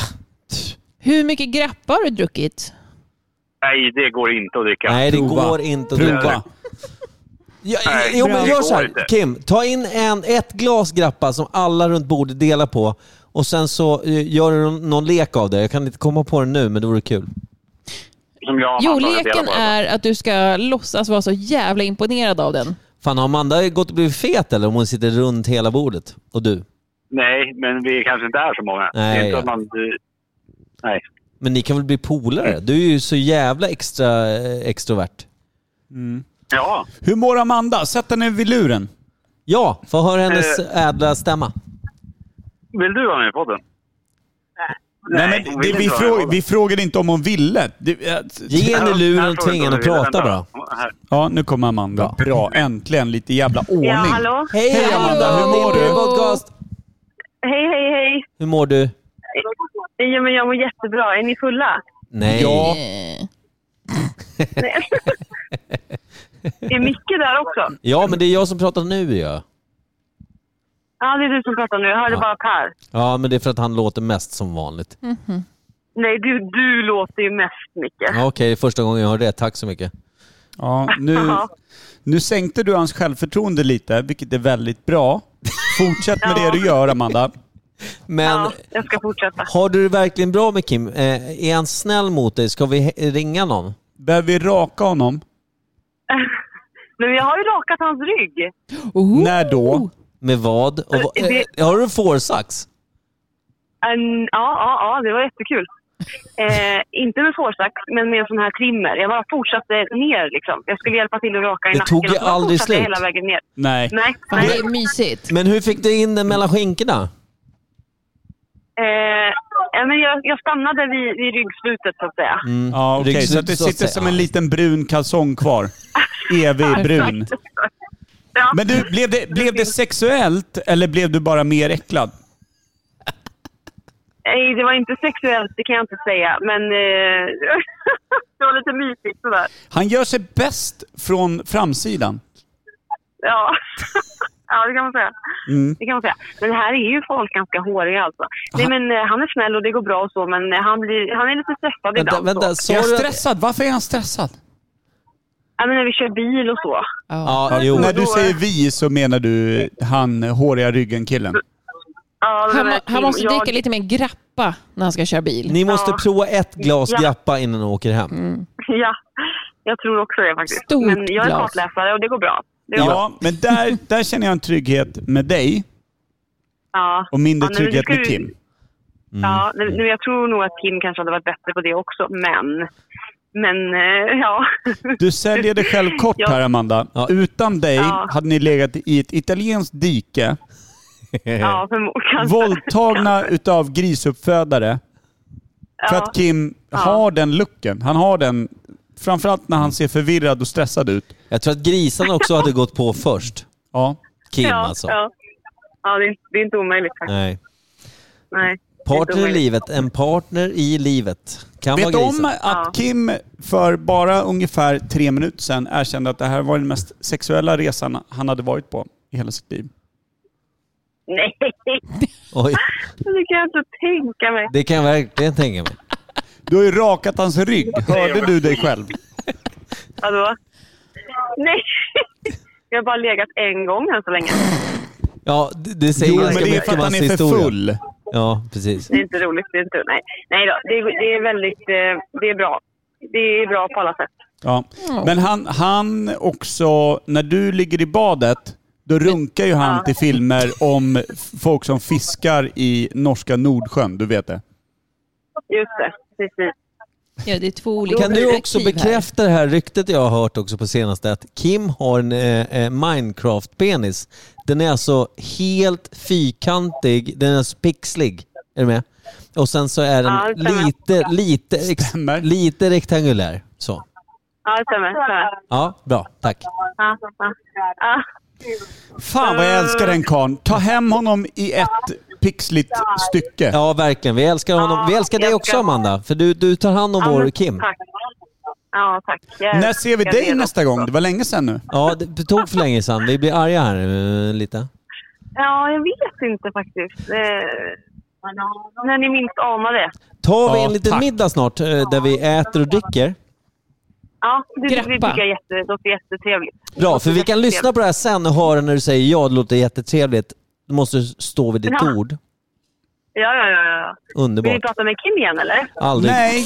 Speaker 2: Hur mycket grappa har du druckit?
Speaker 10: Nej, det går inte att dricka.
Speaker 1: nej det
Speaker 3: prova.
Speaker 1: går inte att dricka.
Speaker 3: Prova.
Speaker 1: Ja,
Speaker 10: Nej,
Speaker 1: jo,
Speaker 10: det
Speaker 1: men
Speaker 10: går
Speaker 1: gör så
Speaker 10: inte.
Speaker 1: här. Kim, ta in en, ett glas grappa som alla runt bordet delar på och sen så eh, gör du någon- någon lek av det. Jag kan inte komma på den nu, men det vore kul.
Speaker 10: Som jag och
Speaker 2: Jo,
Speaker 10: Amanda har delat
Speaker 2: leken
Speaker 10: på det.
Speaker 2: är att du ska låtsas vara så jävla imponerad av den.
Speaker 1: Fan, har Amanda gått och blivit fet eller om hon sitter runt hela bordet? Och du?
Speaker 10: Nej, men vi kanske inte är så många.
Speaker 1: Nej,
Speaker 10: det är inte
Speaker 1: ja.
Speaker 10: att man... Nej.
Speaker 1: Men ni kan väl bli polare? Du är ju så jävla extra eh, extrovert.
Speaker 10: Ja,
Speaker 3: Hur mår Amanda? Sätt henne vid luren.
Speaker 1: Ja, få höra hennes
Speaker 10: Eh.
Speaker 1: ädla stämma.
Speaker 10: vill du vara med i podden?
Speaker 3: Nej,
Speaker 10: Nej,
Speaker 3: men
Speaker 10: hon vill
Speaker 3: det, vi,
Speaker 10: inte vara med i
Speaker 3: fråg,
Speaker 10: podden.
Speaker 3: vi frågade inte om hon ville. Det, eh,
Speaker 1: Ge henne luren och tvinga henne att prata bara.
Speaker 10: Här.
Speaker 3: ja, nu kommer Amanda. Bra, äntligen lite jävla ordning.
Speaker 8: Ja, hallå?
Speaker 1: Hej,
Speaker 3: Hej, Amanda,
Speaker 2: hur mår du?
Speaker 1: Podcast.
Speaker 8: Hej, hej, hej.
Speaker 1: Hur mår du?
Speaker 8: Ja, men jag mår jättebra. Är ni fulla?
Speaker 1: Nej.
Speaker 3: Ja,
Speaker 2: Eh,
Speaker 8: Är Micke där också?
Speaker 1: ja, men det är jag som pratar nu ja.
Speaker 8: Ja, det är du som pratar nu. Jag hörde bara Per.
Speaker 1: Ja, men det är för att han låter mest som vanligt.
Speaker 8: Mm. Nej, du, du låter ju mest, Micke.
Speaker 1: Ja, Okej, det är första gången jag har rätt. Tack så mycket.
Speaker 3: ja nu, nu sänkte du hans självförtroende lite, vilket är väldigt bra. Fortsätt med det du gör, Amanda.
Speaker 1: Men
Speaker 8: Ja, jag ska fortsätta.
Speaker 1: har du det verkligen bra med Kim? Eh, är han snäll mot dig? Ska vi he- ringa någon?
Speaker 3: Behöver vi raka honom?
Speaker 8: Men jag har ju rakat hans rygg.
Speaker 2: oh.
Speaker 3: När då?
Speaker 1: Med vad? Och, va-
Speaker 8: Eh, det-
Speaker 1: eh, har du fårsax?
Speaker 8: En- ja, ja, ja, det var jättekul. Eh, inte med fårsax, men med en sån här trimmer. Jag bara fortsatte ner liksom. Jag skulle hjälpa till att raka i
Speaker 1: Det
Speaker 8: nacken.
Speaker 1: tog ju
Speaker 8: och så bara
Speaker 1: aldrig
Speaker 8: fortsatte jag
Speaker 1: slut.
Speaker 8: hela vägen ner.
Speaker 3: Nej.
Speaker 8: Nej,
Speaker 2: Fan,
Speaker 8: nej.
Speaker 2: det är mysigt.
Speaker 1: Men hur fick du in den mellan skinkorna?
Speaker 8: Eh, ja, men jag, jag stannade vid, vid ryggslutet så att säga.
Speaker 3: Ja, okej.
Speaker 1: Ryggslut,
Speaker 3: Så att det
Speaker 1: så att
Speaker 3: sitter
Speaker 1: säga.
Speaker 3: som en liten brun kalsong kvar.
Speaker 8: *laughs*
Speaker 3: Evig brun.
Speaker 8: Ja.
Speaker 3: Men du, blev det, blev det sexuellt eller blev du bara mer äcklad?
Speaker 8: Nej, det var inte sexuellt, det kan jag inte säga. Men eh, *laughs* det var lite mysigt sådär.
Speaker 3: Han gör sig bäst från framsidan.
Speaker 8: Ja. *laughs* ja, det kan man säga. Det kan man säga. Men här är ju folk ganska håriga alltså. Nej, men eh, han är snäll och det går bra och så, men eh, han, blir, han är lite stressad
Speaker 1: Vänta,
Speaker 8: ibland.
Speaker 1: vänta.
Speaker 8: Så.
Speaker 1: Sa
Speaker 3: Är han
Speaker 1: du att-
Speaker 3: stressad? Varför är han stressad?
Speaker 8: Ja, men när vi kör bil och så.
Speaker 1: Ja, jo.
Speaker 3: När du
Speaker 8: Då-
Speaker 3: säger vi så menar du han håriga ryggen-killen.
Speaker 8: Ja, den
Speaker 2: Han,
Speaker 8: här
Speaker 2: må- han måste
Speaker 8: Kim- jag-
Speaker 2: dricka lite mer grappa när han ska köra bil.
Speaker 1: Ni måste prova ett glas
Speaker 8: Ja. Mm.
Speaker 1: grappa innan ni åker hem.
Speaker 8: *laughs* Ja, jag tror också det faktiskt.
Speaker 2: Stort
Speaker 8: men jag är
Speaker 2: glas.
Speaker 8: kartläsare och det går bra. Det går bra.
Speaker 3: Ja, men där, där känner jag en trygghet med dig
Speaker 8: Ja.
Speaker 3: och mindre
Speaker 8: Ja, nej, men
Speaker 3: trygghet
Speaker 8: du ska
Speaker 3: med
Speaker 8: ju-
Speaker 3: Kim.
Speaker 8: Ja, nu, nu, jag tror nog att Kim kanske hade varit bättre på det också, men... Men eh, ja.
Speaker 3: Du säljer dig själv kort
Speaker 8: Ja.
Speaker 3: här Amanda.
Speaker 1: Ja.
Speaker 3: Utan dig
Speaker 8: Ja.
Speaker 3: hade ni legat i ett italienskt dike,
Speaker 8: ja för, kanske,
Speaker 3: våldtagna utav grisuppfödare. För
Speaker 8: Ja.
Speaker 3: att Kim har den looken. Han har den, framförallt när han ser förvirrad och stressad ut.
Speaker 1: Jag tror att grisarna också hade gått på först.
Speaker 3: Ja.
Speaker 1: Kim
Speaker 8: ja,
Speaker 1: alltså.
Speaker 8: Ja, ja det, är, det är inte omöjligt faktiskt.
Speaker 1: Nej.
Speaker 8: Nej. det är inte
Speaker 1: Partner i
Speaker 8: omöjligt.
Speaker 1: livet. En partner i livet. Kan
Speaker 3: Vet du
Speaker 1: vara grisen.
Speaker 3: om att Kim för bara ungefär tre minuter sedan erkände att det här var den mest sexuella resan han hade varit på i hela sitt liv?
Speaker 8: Nej, *laughs*
Speaker 1: Oj,
Speaker 8: det kan jag inte tänka mig.
Speaker 1: det kan jag verkligen tänka mig.
Speaker 3: Du har ju rakat hans rygg. Hörde du dig själv?
Speaker 8: Vadå? Nej! *laughs* Jag har bara legat en gång än så länge.
Speaker 1: Ja, det, det säger
Speaker 3: Jo, men
Speaker 1: ganska
Speaker 3: det är
Speaker 1: mycket
Speaker 3: för att
Speaker 1: om
Speaker 3: han
Speaker 1: hans
Speaker 3: är för
Speaker 1: historia.
Speaker 3: full.
Speaker 1: Ja, precis.
Speaker 8: Det är inte roligt. Det är inte, nej. nej då, det, det är väldigt... eh, Det är bra. Det är bra på alla sätt.
Speaker 3: Ja. Men han, han också, när du ligger i badet, då runkar ju han till filmer om f- folk som fiskar i norska Nordsjön, du vet det.
Speaker 8: Just det, precis.
Speaker 2: Ja, det är två olika
Speaker 1: Kan du också
Speaker 2: perspektiv här.
Speaker 1: bekräfta det här ryktet jag har hört också på senaste att Kim har en eh, eh, Minecraft-penis. Den är alltså helt fyrkantig, den är alltså pixlig. Är du med? Och sen så är den
Speaker 11: Ja, det stämmer.
Speaker 1: lite, lite, ex- lite rektangulär. Så.
Speaker 11: Ja, det stämmer. stämmer.
Speaker 1: Ja, bra. Tack.
Speaker 11: Ja, ja, ja.
Speaker 3: Fan vad jag älskar den karln. Ta hem honom i ett pixligt stycke.
Speaker 1: Ja, verkligen. Vi älskar honom. Vi älskar dig också Amanda, för du, du tar hand om
Speaker 11: Ja,
Speaker 1: vår
Speaker 11: men
Speaker 1: Kim.
Speaker 11: Tack. Ja, tack. Jag
Speaker 3: När ser vi
Speaker 11: älskar
Speaker 3: dig
Speaker 11: er
Speaker 3: nästa
Speaker 11: också.
Speaker 3: gång? Det var länge sedan nu.
Speaker 1: Ja, det tog för länge sedan. Vi blir arga här eh, lite.
Speaker 11: Ja, jag vet inte faktiskt. Eh, när ni minst anar det.
Speaker 1: Tar vi
Speaker 3: Ja,
Speaker 1: en liten
Speaker 3: tack.
Speaker 1: middag snart eh, där vi äter och dricker?
Speaker 11: Ja, det, det
Speaker 2: Grappa.
Speaker 11: tycker jag jätte, låter jättetrevligt.
Speaker 1: Bra, för vi kan lyssna på det här sen och höra när du säger ja, det låter jättetrevligt. Du måste stå vid ditt
Speaker 11: Ja.
Speaker 1: ord.
Speaker 11: Ja, ja, ja. ja. Vill ni
Speaker 1: Underbart.
Speaker 11: prata med Kim igen eller?
Speaker 1: Aldrig.
Speaker 3: Nej,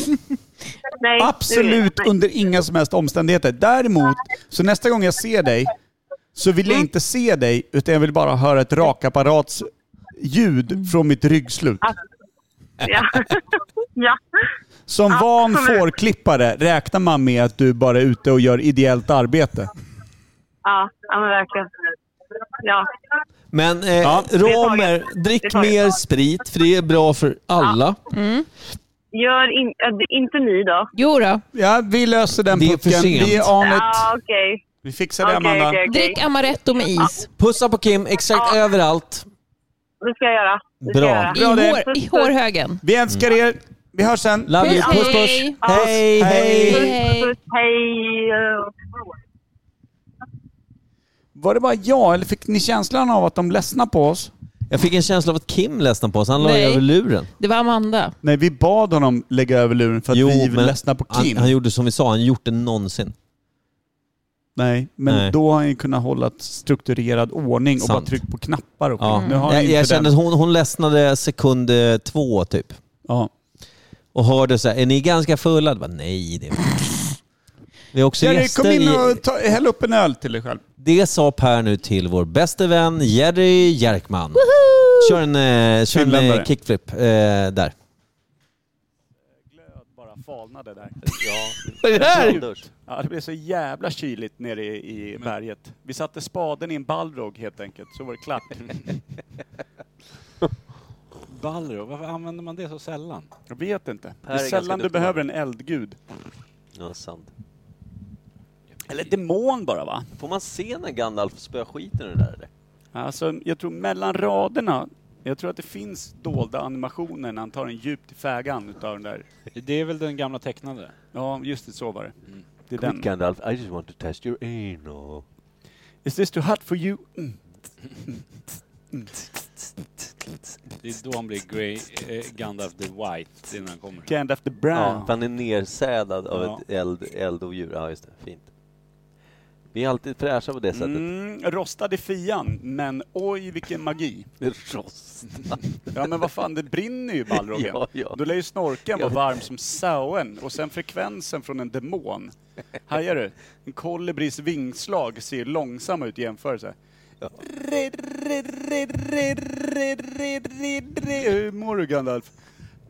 Speaker 11: Nej. nu-
Speaker 3: absolut
Speaker 11: nej.
Speaker 3: under inga som helst omständigheter. Däremot, så nästa gång jag ser dig så vill jag inte se dig utan jag vill bara höra ett rakapparats ljud från mitt ryggslut.
Speaker 11: Ja. *laughs* ja.
Speaker 3: Som van
Speaker 11: absolut.
Speaker 3: fårklippare räknar man med att du bara är ute och gör ideellt arbete.
Speaker 11: ja, ja, men verkligen. Ja.
Speaker 1: Men eh,
Speaker 3: Ja.
Speaker 1: romer,
Speaker 11: Det
Speaker 1: drick
Speaker 11: tar jag.
Speaker 1: mer sprit för det är bra för alla.
Speaker 11: Gör in, äh, inte ni då?
Speaker 2: Jo då.
Speaker 3: Ja, vi löser den
Speaker 1: Det är för
Speaker 3: pucken. Vi är
Speaker 1: sent.
Speaker 3: on it.
Speaker 11: Ja, okej.
Speaker 3: Vi fixar det
Speaker 11: Okej,
Speaker 3: Amanda.
Speaker 11: okej, okej.
Speaker 2: Drick Amaretto med is.
Speaker 1: Pussa på Kim exakt
Speaker 11: Ja.
Speaker 1: överallt.
Speaker 11: Det ska jag göra. Det ska
Speaker 1: Bra.
Speaker 11: jag göra.
Speaker 2: I,
Speaker 3: Bra det.
Speaker 2: hår, I hårhögen.
Speaker 3: Vi älskar
Speaker 1: Mm.
Speaker 3: er. Vi hörs sen.
Speaker 1: Love you.
Speaker 2: Hej,
Speaker 1: Puss puss.
Speaker 2: hej.
Speaker 1: Hej,
Speaker 3: Hej.
Speaker 1: hej.
Speaker 2: Hej.
Speaker 11: Puss, hej. eh,
Speaker 3: Var det bara jag eller fick ni känslan av att de ledsnar på oss?
Speaker 1: Jag fick en känsla av att Kim ledsnade på oss. Han la
Speaker 2: Nej.
Speaker 1: över luren.
Speaker 2: Det var Amanda.
Speaker 3: Nej, vi bad honom lägga över luren för att vi
Speaker 1: men
Speaker 3: ledsna på Kim.
Speaker 1: Han, han gjorde som vi sa, han gjort det någonsin.
Speaker 3: Nej, men
Speaker 1: Nej.
Speaker 3: då har han ju kunnat hålla strukturerad ordning och bara
Speaker 1: Sant.
Speaker 3: tryckt på knappar och
Speaker 1: Ja.
Speaker 3: skit. Nu har han
Speaker 1: Jag,
Speaker 3: inte
Speaker 1: jag kände
Speaker 3: den.
Speaker 1: att hon, hon ledsnade sekund eh, två typ.
Speaker 3: Ja.
Speaker 1: Och hörde så här, är ni ganska fulla? Jag Bara, Nej, det är vi är också
Speaker 3: Jerry,
Speaker 1: gäster.
Speaker 3: kom in
Speaker 1: i-
Speaker 3: och ta, häll upp en öl till dig själv.
Speaker 1: Det sa Per nu till vår bäste vän Jerry Jerkman. Kör en, eh, kör en eh,
Speaker 3: Finländare.
Speaker 1: kickflip eh, där.
Speaker 3: Bara falnade där.
Speaker 1: Vad är det
Speaker 3: Ja, det blev så jävla kyligt nere i, i berget. Vi satte spaden i en ballrog helt enkelt, så var
Speaker 12: *laughs*
Speaker 3: det klart.
Speaker 12: Balro, varför använder man det så sällan?
Speaker 3: Jag vet inte. Det
Speaker 12: Per
Speaker 3: är
Speaker 12: är ganska
Speaker 3: sällan du
Speaker 12: duktig.
Speaker 3: behöver en eldgud.
Speaker 1: Ja, sant.
Speaker 3: Eller demon bara va?
Speaker 1: Får man se när Gandalf spöar skiten ur det där eller?
Speaker 3: Alltså, jag tror mellan raderna, jag tror att det finns dolda animationer när han tar en djupt i fägan utav den där.
Speaker 12: Det är väl den gamla tecknade? Mm.
Speaker 3: Ja, just det, så var det. Det är
Speaker 12: Quick
Speaker 3: den.
Speaker 12: Gandalf, I just want to test your anal.
Speaker 3: Is this too hot for you? Mm.
Speaker 12: Det är då han blir Grey, eh, Gandalf the White innan han kommer.
Speaker 3: Gandalf the brown.
Speaker 12: han är nersädad
Speaker 3: av Ja. ett
Speaker 12: eld, eldodjur. Ja, just det. Fint. Vi är alltid fräscha på det
Speaker 3: Mm, rostad i fian, men oj vilken magi.
Speaker 12: *laughs* Rost.
Speaker 3: Ja men vad fan, det brinner ju i ballrogen.
Speaker 12: Ja, ja.
Speaker 3: Då lär ju snorken vara varm som sauen och sen frekvensen från en demon. Hajar du? En kolibris vingslag ser ju långsam ut i jämförelse. Re, re, re, re, re, re, re, re. Hur mår du Gandalf?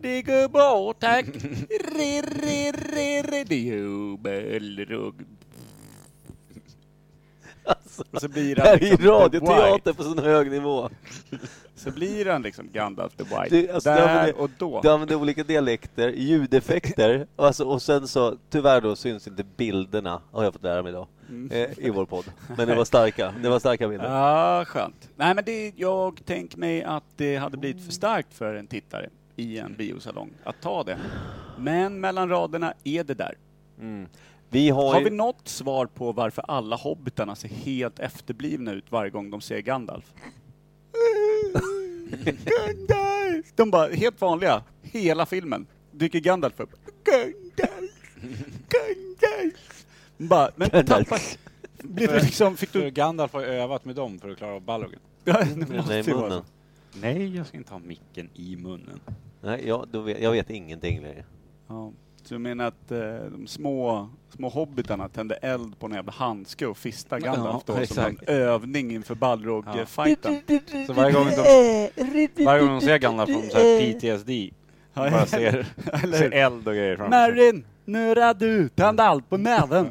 Speaker 3: Det går bra tack. Re, re, re, re, det är ballrog.
Speaker 12: Alltså,
Speaker 3: Och så blir han liksom the white.
Speaker 12: på sån hög nivå.
Speaker 3: Så blir han liksom Gandalf the White.
Speaker 12: Du, alltså, du
Speaker 3: Där
Speaker 12: använder-
Speaker 3: och då.
Speaker 12: Du använder olika dialekter, ljudeffekter och, alltså, och sen så, tyvärr då syns inte bilderna, har jag fått lära mig idag,
Speaker 3: Mm.
Speaker 12: eh, i vår podd. Men det var starka, det var starka bilder.
Speaker 3: Ja, skönt. Nej, men det, jag tänker mig att det hade blivit för starkt för en tittare i en biosalong att ta det. Men mellan raderna är det där.
Speaker 12: Vi har,
Speaker 3: Har
Speaker 12: ju-
Speaker 3: vi något svar på varför alla hobbitarna ser helt efterblivna ut varje gång de ser Gandalf? Gandalf! De bara, helt vanliga, hela filmen. Dyker Gandalf upp. Gandalf! Gandalf! Bara, men
Speaker 12: Gandalf.
Speaker 3: tappa... Blir du liksom, fick
Speaker 12: För
Speaker 3: du...
Speaker 12: Gandalf har ju övat med dem för att klara av ballogen.
Speaker 3: Ja, det måste
Speaker 12: Nej,
Speaker 3: ju vara så.
Speaker 12: munnen. Nej, jag ska inte ha micken i munnen.
Speaker 1: Nej, jag, då vet, jag vet ingenting längre.
Speaker 3: Ja. Så du menar att eh, de små, små hobbitarna tände eld på en jävla handske och fistade
Speaker 12: Ja,
Speaker 3: Gandalf då som en
Speaker 12: exakt.
Speaker 3: övning inför
Speaker 12: Ja.
Speaker 3: Balrog-fighten?
Speaker 4: eh,
Speaker 12: Så varje gång de, varje gång de ser Gandalf får de så här PTSD.
Speaker 13: Bara ser,
Speaker 3: *laughs* Eller
Speaker 13: ser
Speaker 3: hur?
Speaker 13: eld och grejer framför sig.
Speaker 3: Marin, nu är det du. Tänd allt på näven.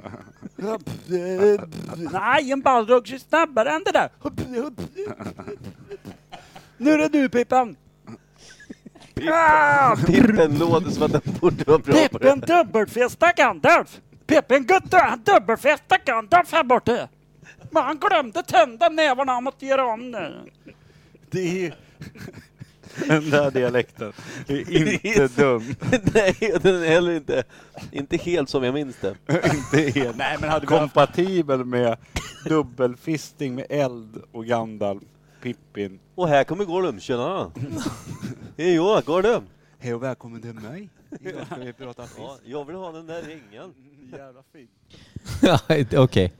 Speaker 3: Nej, en ballrock är snabbare än det där. Nu är det du Pippen. Ah,
Speaker 12: Pippen låter som att den borde vara bra på
Speaker 3: Pippen
Speaker 12: det.
Speaker 3: dubbelfesta Gandalf. Pippen Gutte, han dubbelfesta Gandalf här borta. Men han glömde tända nävarna, han måste göra om nu. Det är...
Speaker 13: *laughs* Den där dialekten. Det är *laughs* inte dum.
Speaker 12: *laughs* Nej, och den är heller inte, inte helt som jag minns det.
Speaker 13: inte helt
Speaker 3: Nej, men hade vi haft-
Speaker 13: kompatibel med dubbelfisting med eld och Gandalf, Pippin.
Speaker 12: Och här kommer Gollum, tjena! Hej jag, Gollum!
Speaker 3: Hej och välkommen till mig.
Speaker 12: Idag ska vi prata ja, jag vill ha den där ringen.
Speaker 3: Jävla fint.
Speaker 1: Ja, *laughs* Okej.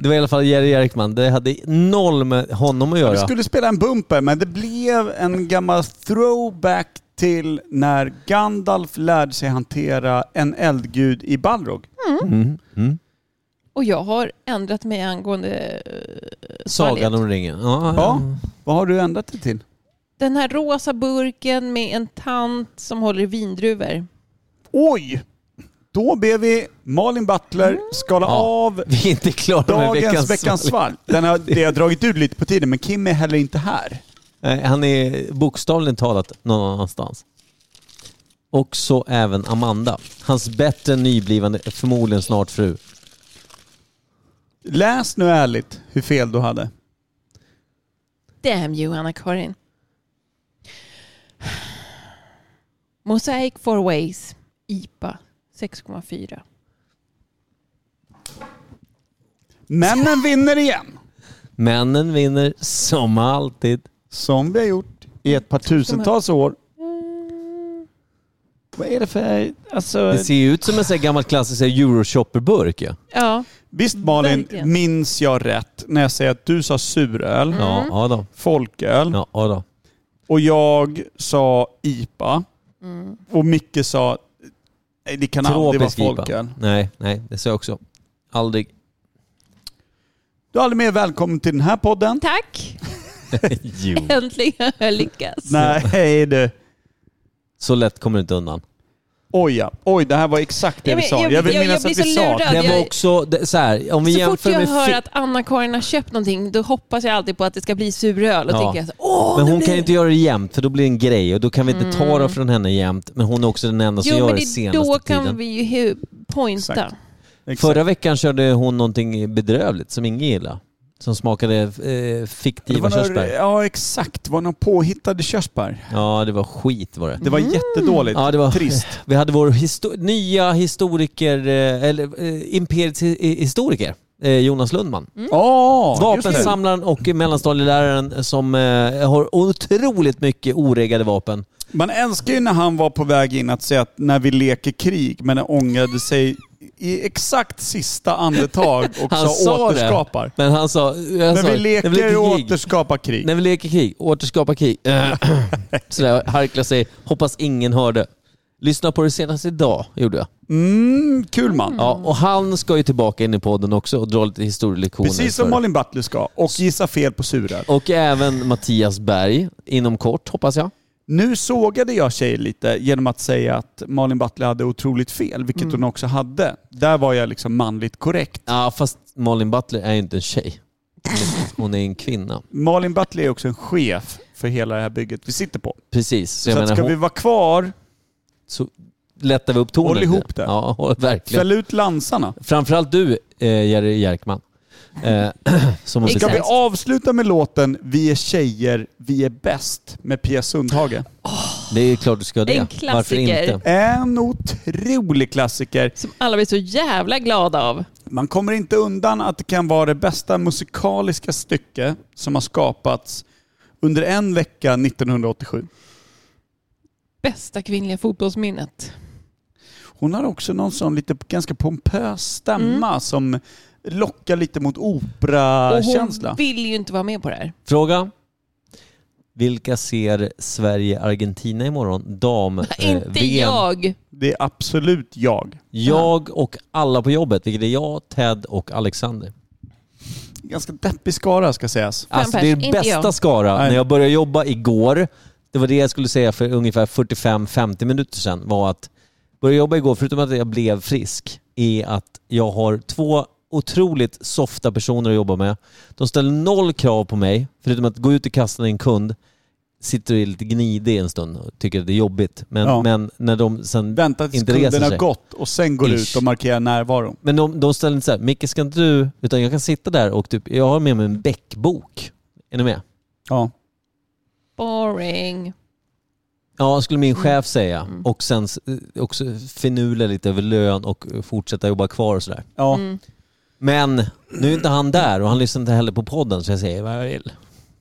Speaker 1: Det var i alla fall Jerry Jerkman. Det hade noll med honom att
Speaker 3: Vi
Speaker 1: göra.
Speaker 3: skulle spela en bumper, men det blev en gammal throwback till när Gandalf lärde sig hantera en eldgud i Balrog.
Speaker 1: Mm. Mm.
Speaker 2: Och jag har ändrat mig angående eh,
Speaker 1: Sagan om ringen. Ja, ja.
Speaker 3: Vad har du ändrat det till?
Speaker 2: den här rosa burken med en tant som håller i vindruvor.
Speaker 3: Oj! Då ber vi Malin Butler skala av
Speaker 1: vi är inte klara med
Speaker 3: dagens
Speaker 1: veckans
Speaker 3: veckans, svalg. Den har, det har dragit ut lite på tiden, men Kim är heller inte här.
Speaker 1: Nej, Han är bokstavligen talat någon annanstans. Och så även Amanda. Hans bättre nyblivande, förmodligen snart fru.
Speaker 3: Läs nu ärligt hur fel du hade.
Speaker 2: Damn you, Anna-Karin. Mosaic Four Ways, IPA 6,4.
Speaker 3: Männen vinner igen.
Speaker 1: Männen vinner som alltid.
Speaker 3: Som vi har gjort i ett par tusentals år. Vad är det för... Alltså...
Speaker 1: Det ser ju ut som en sån här gammal klassisk så här Euroshopper-burk.
Speaker 3: Mm.
Speaker 1: Ja.
Speaker 2: Ja.
Speaker 3: Visst Malin,
Speaker 2: Verkligen.
Speaker 3: minns jag rätt när jag säger att du sa suröl,
Speaker 1: Ja, ja då.
Speaker 3: folköl
Speaker 1: Ja, ja då.
Speaker 3: och jag sa IPA och Micke sa nej, det kan aldrig vara
Speaker 1: Tropisk
Speaker 3: folköl.
Speaker 1: IPA. Nej, nej, det sa jag också.
Speaker 3: *laughs*
Speaker 1: Aldrig.
Speaker 3: Du är aldrig mer välkommen till den här podden.
Speaker 2: Tack!
Speaker 1: jo.
Speaker 2: Äntligen har jag lyckats.
Speaker 3: Nej du.
Speaker 1: Så lätt kommer du inte undan.
Speaker 3: Oj ja. Oj, det här var exakt det
Speaker 2: Ja,
Speaker 3: vi
Speaker 2: men
Speaker 3: sa.
Speaker 2: jag-
Speaker 3: Jag, vill
Speaker 2: jag- jag
Speaker 3: minnas
Speaker 2: blir
Speaker 3: att vi
Speaker 2: så
Speaker 3: sa
Speaker 2: lurad.
Speaker 3: det.
Speaker 1: Det
Speaker 2: jag-
Speaker 1: var också, det, så här, om vi
Speaker 2: Så fort
Speaker 1: jämför
Speaker 2: jag
Speaker 1: med...
Speaker 2: hör
Speaker 1: fi-
Speaker 2: att Anna-Karin har köpt någonting då hoppas jag alltid på att det ska bli suröl och
Speaker 1: Ja.
Speaker 2: tänker jag så, åh,
Speaker 1: men
Speaker 2: det
Speaker 1: hon
Speaker 2: blir
Speaker 1: kan ju inte göra det jämt för då blir det en grej och då kan vi inte ta det från henne jämt. Men hon alltså är också den enda som
Speaker 2: Mm. Jo,
Speaker 1: gör det
Speaker 2: men det, då
Speaker 1: senaste
Speaker 2: kan
Speaker 1: tiden.
Speaker 2: vi ju hu- pointa.
Speaker 1: Exakt. Förra veckan körde hon någonting bedrövligt som ingen gillade. Som smakade eh,
Speaker 3: Det
Speaker 1: fiktiva
Speaker 3: var några,
Speaker 1: körsbär.
Speaker 3: ja exakt, det var några påhittade körsbär.
Speaker 1: Ja, det var skit var det.
Speaker 3: Det var jättedåligt.
Speaker 1: Ja, det var
Speaker 3: Trist.
Speaker 1: *laughs* Vi hade vår histo- nya historiker, eh, eller eh, imperiets hi- historiker, eh, Jonas Lundman.
Speaker 3: Ja, just det.
Speaker 1: Vapensamlaren och mellanstadieläraren som eh, har otroligt mycket oreggade vapen.
Speaker 3: Man älskar ju när han var på väg in att säga att när vi leker krig, men han ångrade sig i exakt sista andetag
Speaker 1: *laughs*
Speaker 3: och
Speaker 1: Han
Speaker 3: sa,
Speaker 1: sa det.
Speaker 3: återskapar.
Speaker 1: Men han sa... Jag
Speaker 3: Men
Speaker 1: sa,
Speaker 3: vi leker
Speaker 1: när vi leker krig.
Speaker 3: återskapa krig.
Speaker 1: När vi leker krig, återskapa krig. Eh, *clears throat* Sådär, harkla sig. Hoppas ingen hörde. Lyssna på det senast idag, gjorde jag.
Speaker 3: Mm, kul man.
Speaker 1: Ja, och han ska ju tillbaka in i podden också och dra lite historielektioner.
Speaker 3: Precis som
Speaker 1: för-
Speaker 3: Malin Butler ska. Och gissa fel på suröl.
Speaker 1: Och även Mattias Berg, inom kort hoppas jag.
Speaker 3: Nu sågade jag tjejer lite genom att säga att Malin Butler hade otroligt fel, vilket
Speaker 1: Mm.
Speaker 3: hon också hade. Där var jag liksom manligt korrekt.
Speaker 1: Ja, fast Malin Butler är ju inte en tjej. Hon är en kvinna.
Speaker 3: Malin Butler är också en chef för hela det här bygget vi sitter på.
Speaker 1: Precis. Så,
Speaker 3: Så,
Speaker 1: jag
Speaker 3: att
Speaker 1: menar,
Speaker 3: ska
Speaker 1: hon,
Speaker 3: vi vara kvar,
Speaker 1: så lättar vi upp tonen.
Speaker 3: Håll
Speaker 1: lite.
Speaker 3: ihop det.
Speaker 1: Ja, *laughs* håll- verkligen.
Speaker 3: fäll ut lansarna.
Speaker 1: Framförallt du, eh, Jerry Jerkman. Eh, *clears throat* som har
Speaker 3: Ska vi
Speaker 1: bestämt.
Speaker 3: avsluta med låten Vi är tjejer, vi är bäst med Pia Sundhage?
Speaker 1: Det är ju klart du ska det.
Speaker 2: En klassiker.
Speaker 1: Varför inte?
Speaker 3: En otrolig klassiker.
Speaker 2: Som alla blir så jävla glada av.
Speaker 3: Man kommer inte undan att det kan vara det bästa musikaliska stycke som har skapats under en vecka 1987.
Speaker 2: Bästa kvinnliga fotbollsminnet.
Speaker 3: Hon har också någon sån lite ganska pompös stämma
Speaker 2: Mm.
Speaker 3: som lockar lite mot
Speaker 2: och hon
Speaker 3: operakänsla.
Speaker 2: vill ju inte vara med på det här.
Speaker 1: Fråga. Vilka ser Sverige-Argentina imorgon? eh, Dam-VM.
Speaker 2: *laughs* inte jag.
Speaker 3: Det är absolut jag.
Speaker 1: Jag och alla på jobbet, vilket är jag, Ted och Alexander.
Speaker 3: Ganska deppig skara ska sägas.
Speaker 1: Alltså
Speaker 2: pers,
Speaker 1: det är
Speaker 2: inte
Speaker 1: bästa
Speaker 2: jag.
Speaker 1: Skara.
Speaker 3: Nej.
Speaker 1: När jag började jobba igår det var det jag skulle säga för ungefär 45-50 minuter sedan var att börja jobba igår, förutom att jag blev frisk, är att jag har två otroligt softa personer att jobba med. De ställer noll krav på mig, förutom att gå ut och kasta en kund, sitter och är lite gnidig en stund och tycker att det är jobbigt. Men,
Speaker 3: Ja.
Speaker 1: men när de sen
Speaker 3: Vänta tills
Speaker 1: inte reser
Speaker 3: kunden har
Speaker 1: sig.
Speaker 3: gått och sen går
Speaker 1: Ish.
Speaker 3: ut och markerar närvaro.
Speaker 1: Men de, de ställer inte så här, Micke ska inte du... Utan jag kan sitta där och typ, jag har med mig en bäckbok. Är ni med?
Speaker 3: Ja.
Speaker 2: Boring.
Speaker 1: Ja, skulle min chef säga. Och sen s- eh, också finula lite över lön och eh, fortsätta jobba kvar och sådär.
Speaker 3: Ja.
Speaker 2: Mm.
Speaker 1: Men nu är inte han där och han lyssnar inte heller på podden så jag säger vad jag vill.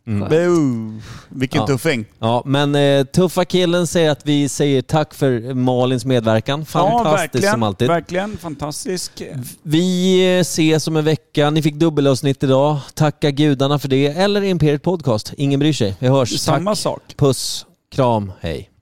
Speaker 1: Mm.
Speaker 3: Boo. Vilken
Speaker 1: Ja.
Speaker 3: tuffing.
Speaker 1: Ja, men eh, tuffa killen säger att vi säger tack för Malins medverkan. Fantastiskt
Speaker 3: verkligen,
Speaker 1: som alltid.
Speaker 3: Verkligen fantastisk.
Speaker 1: Vi eh, ses om en vecka. Ni fick dubbelavsnitt idag. Tacka gudarna för det. Eller Imperiet Podcast. Ingen bryr sig. Vi hörs.
Speaker 3: Samma
Speaker 1: Tack.
Speaker 3: sak.
Speaker 1: Puss, kram, hej.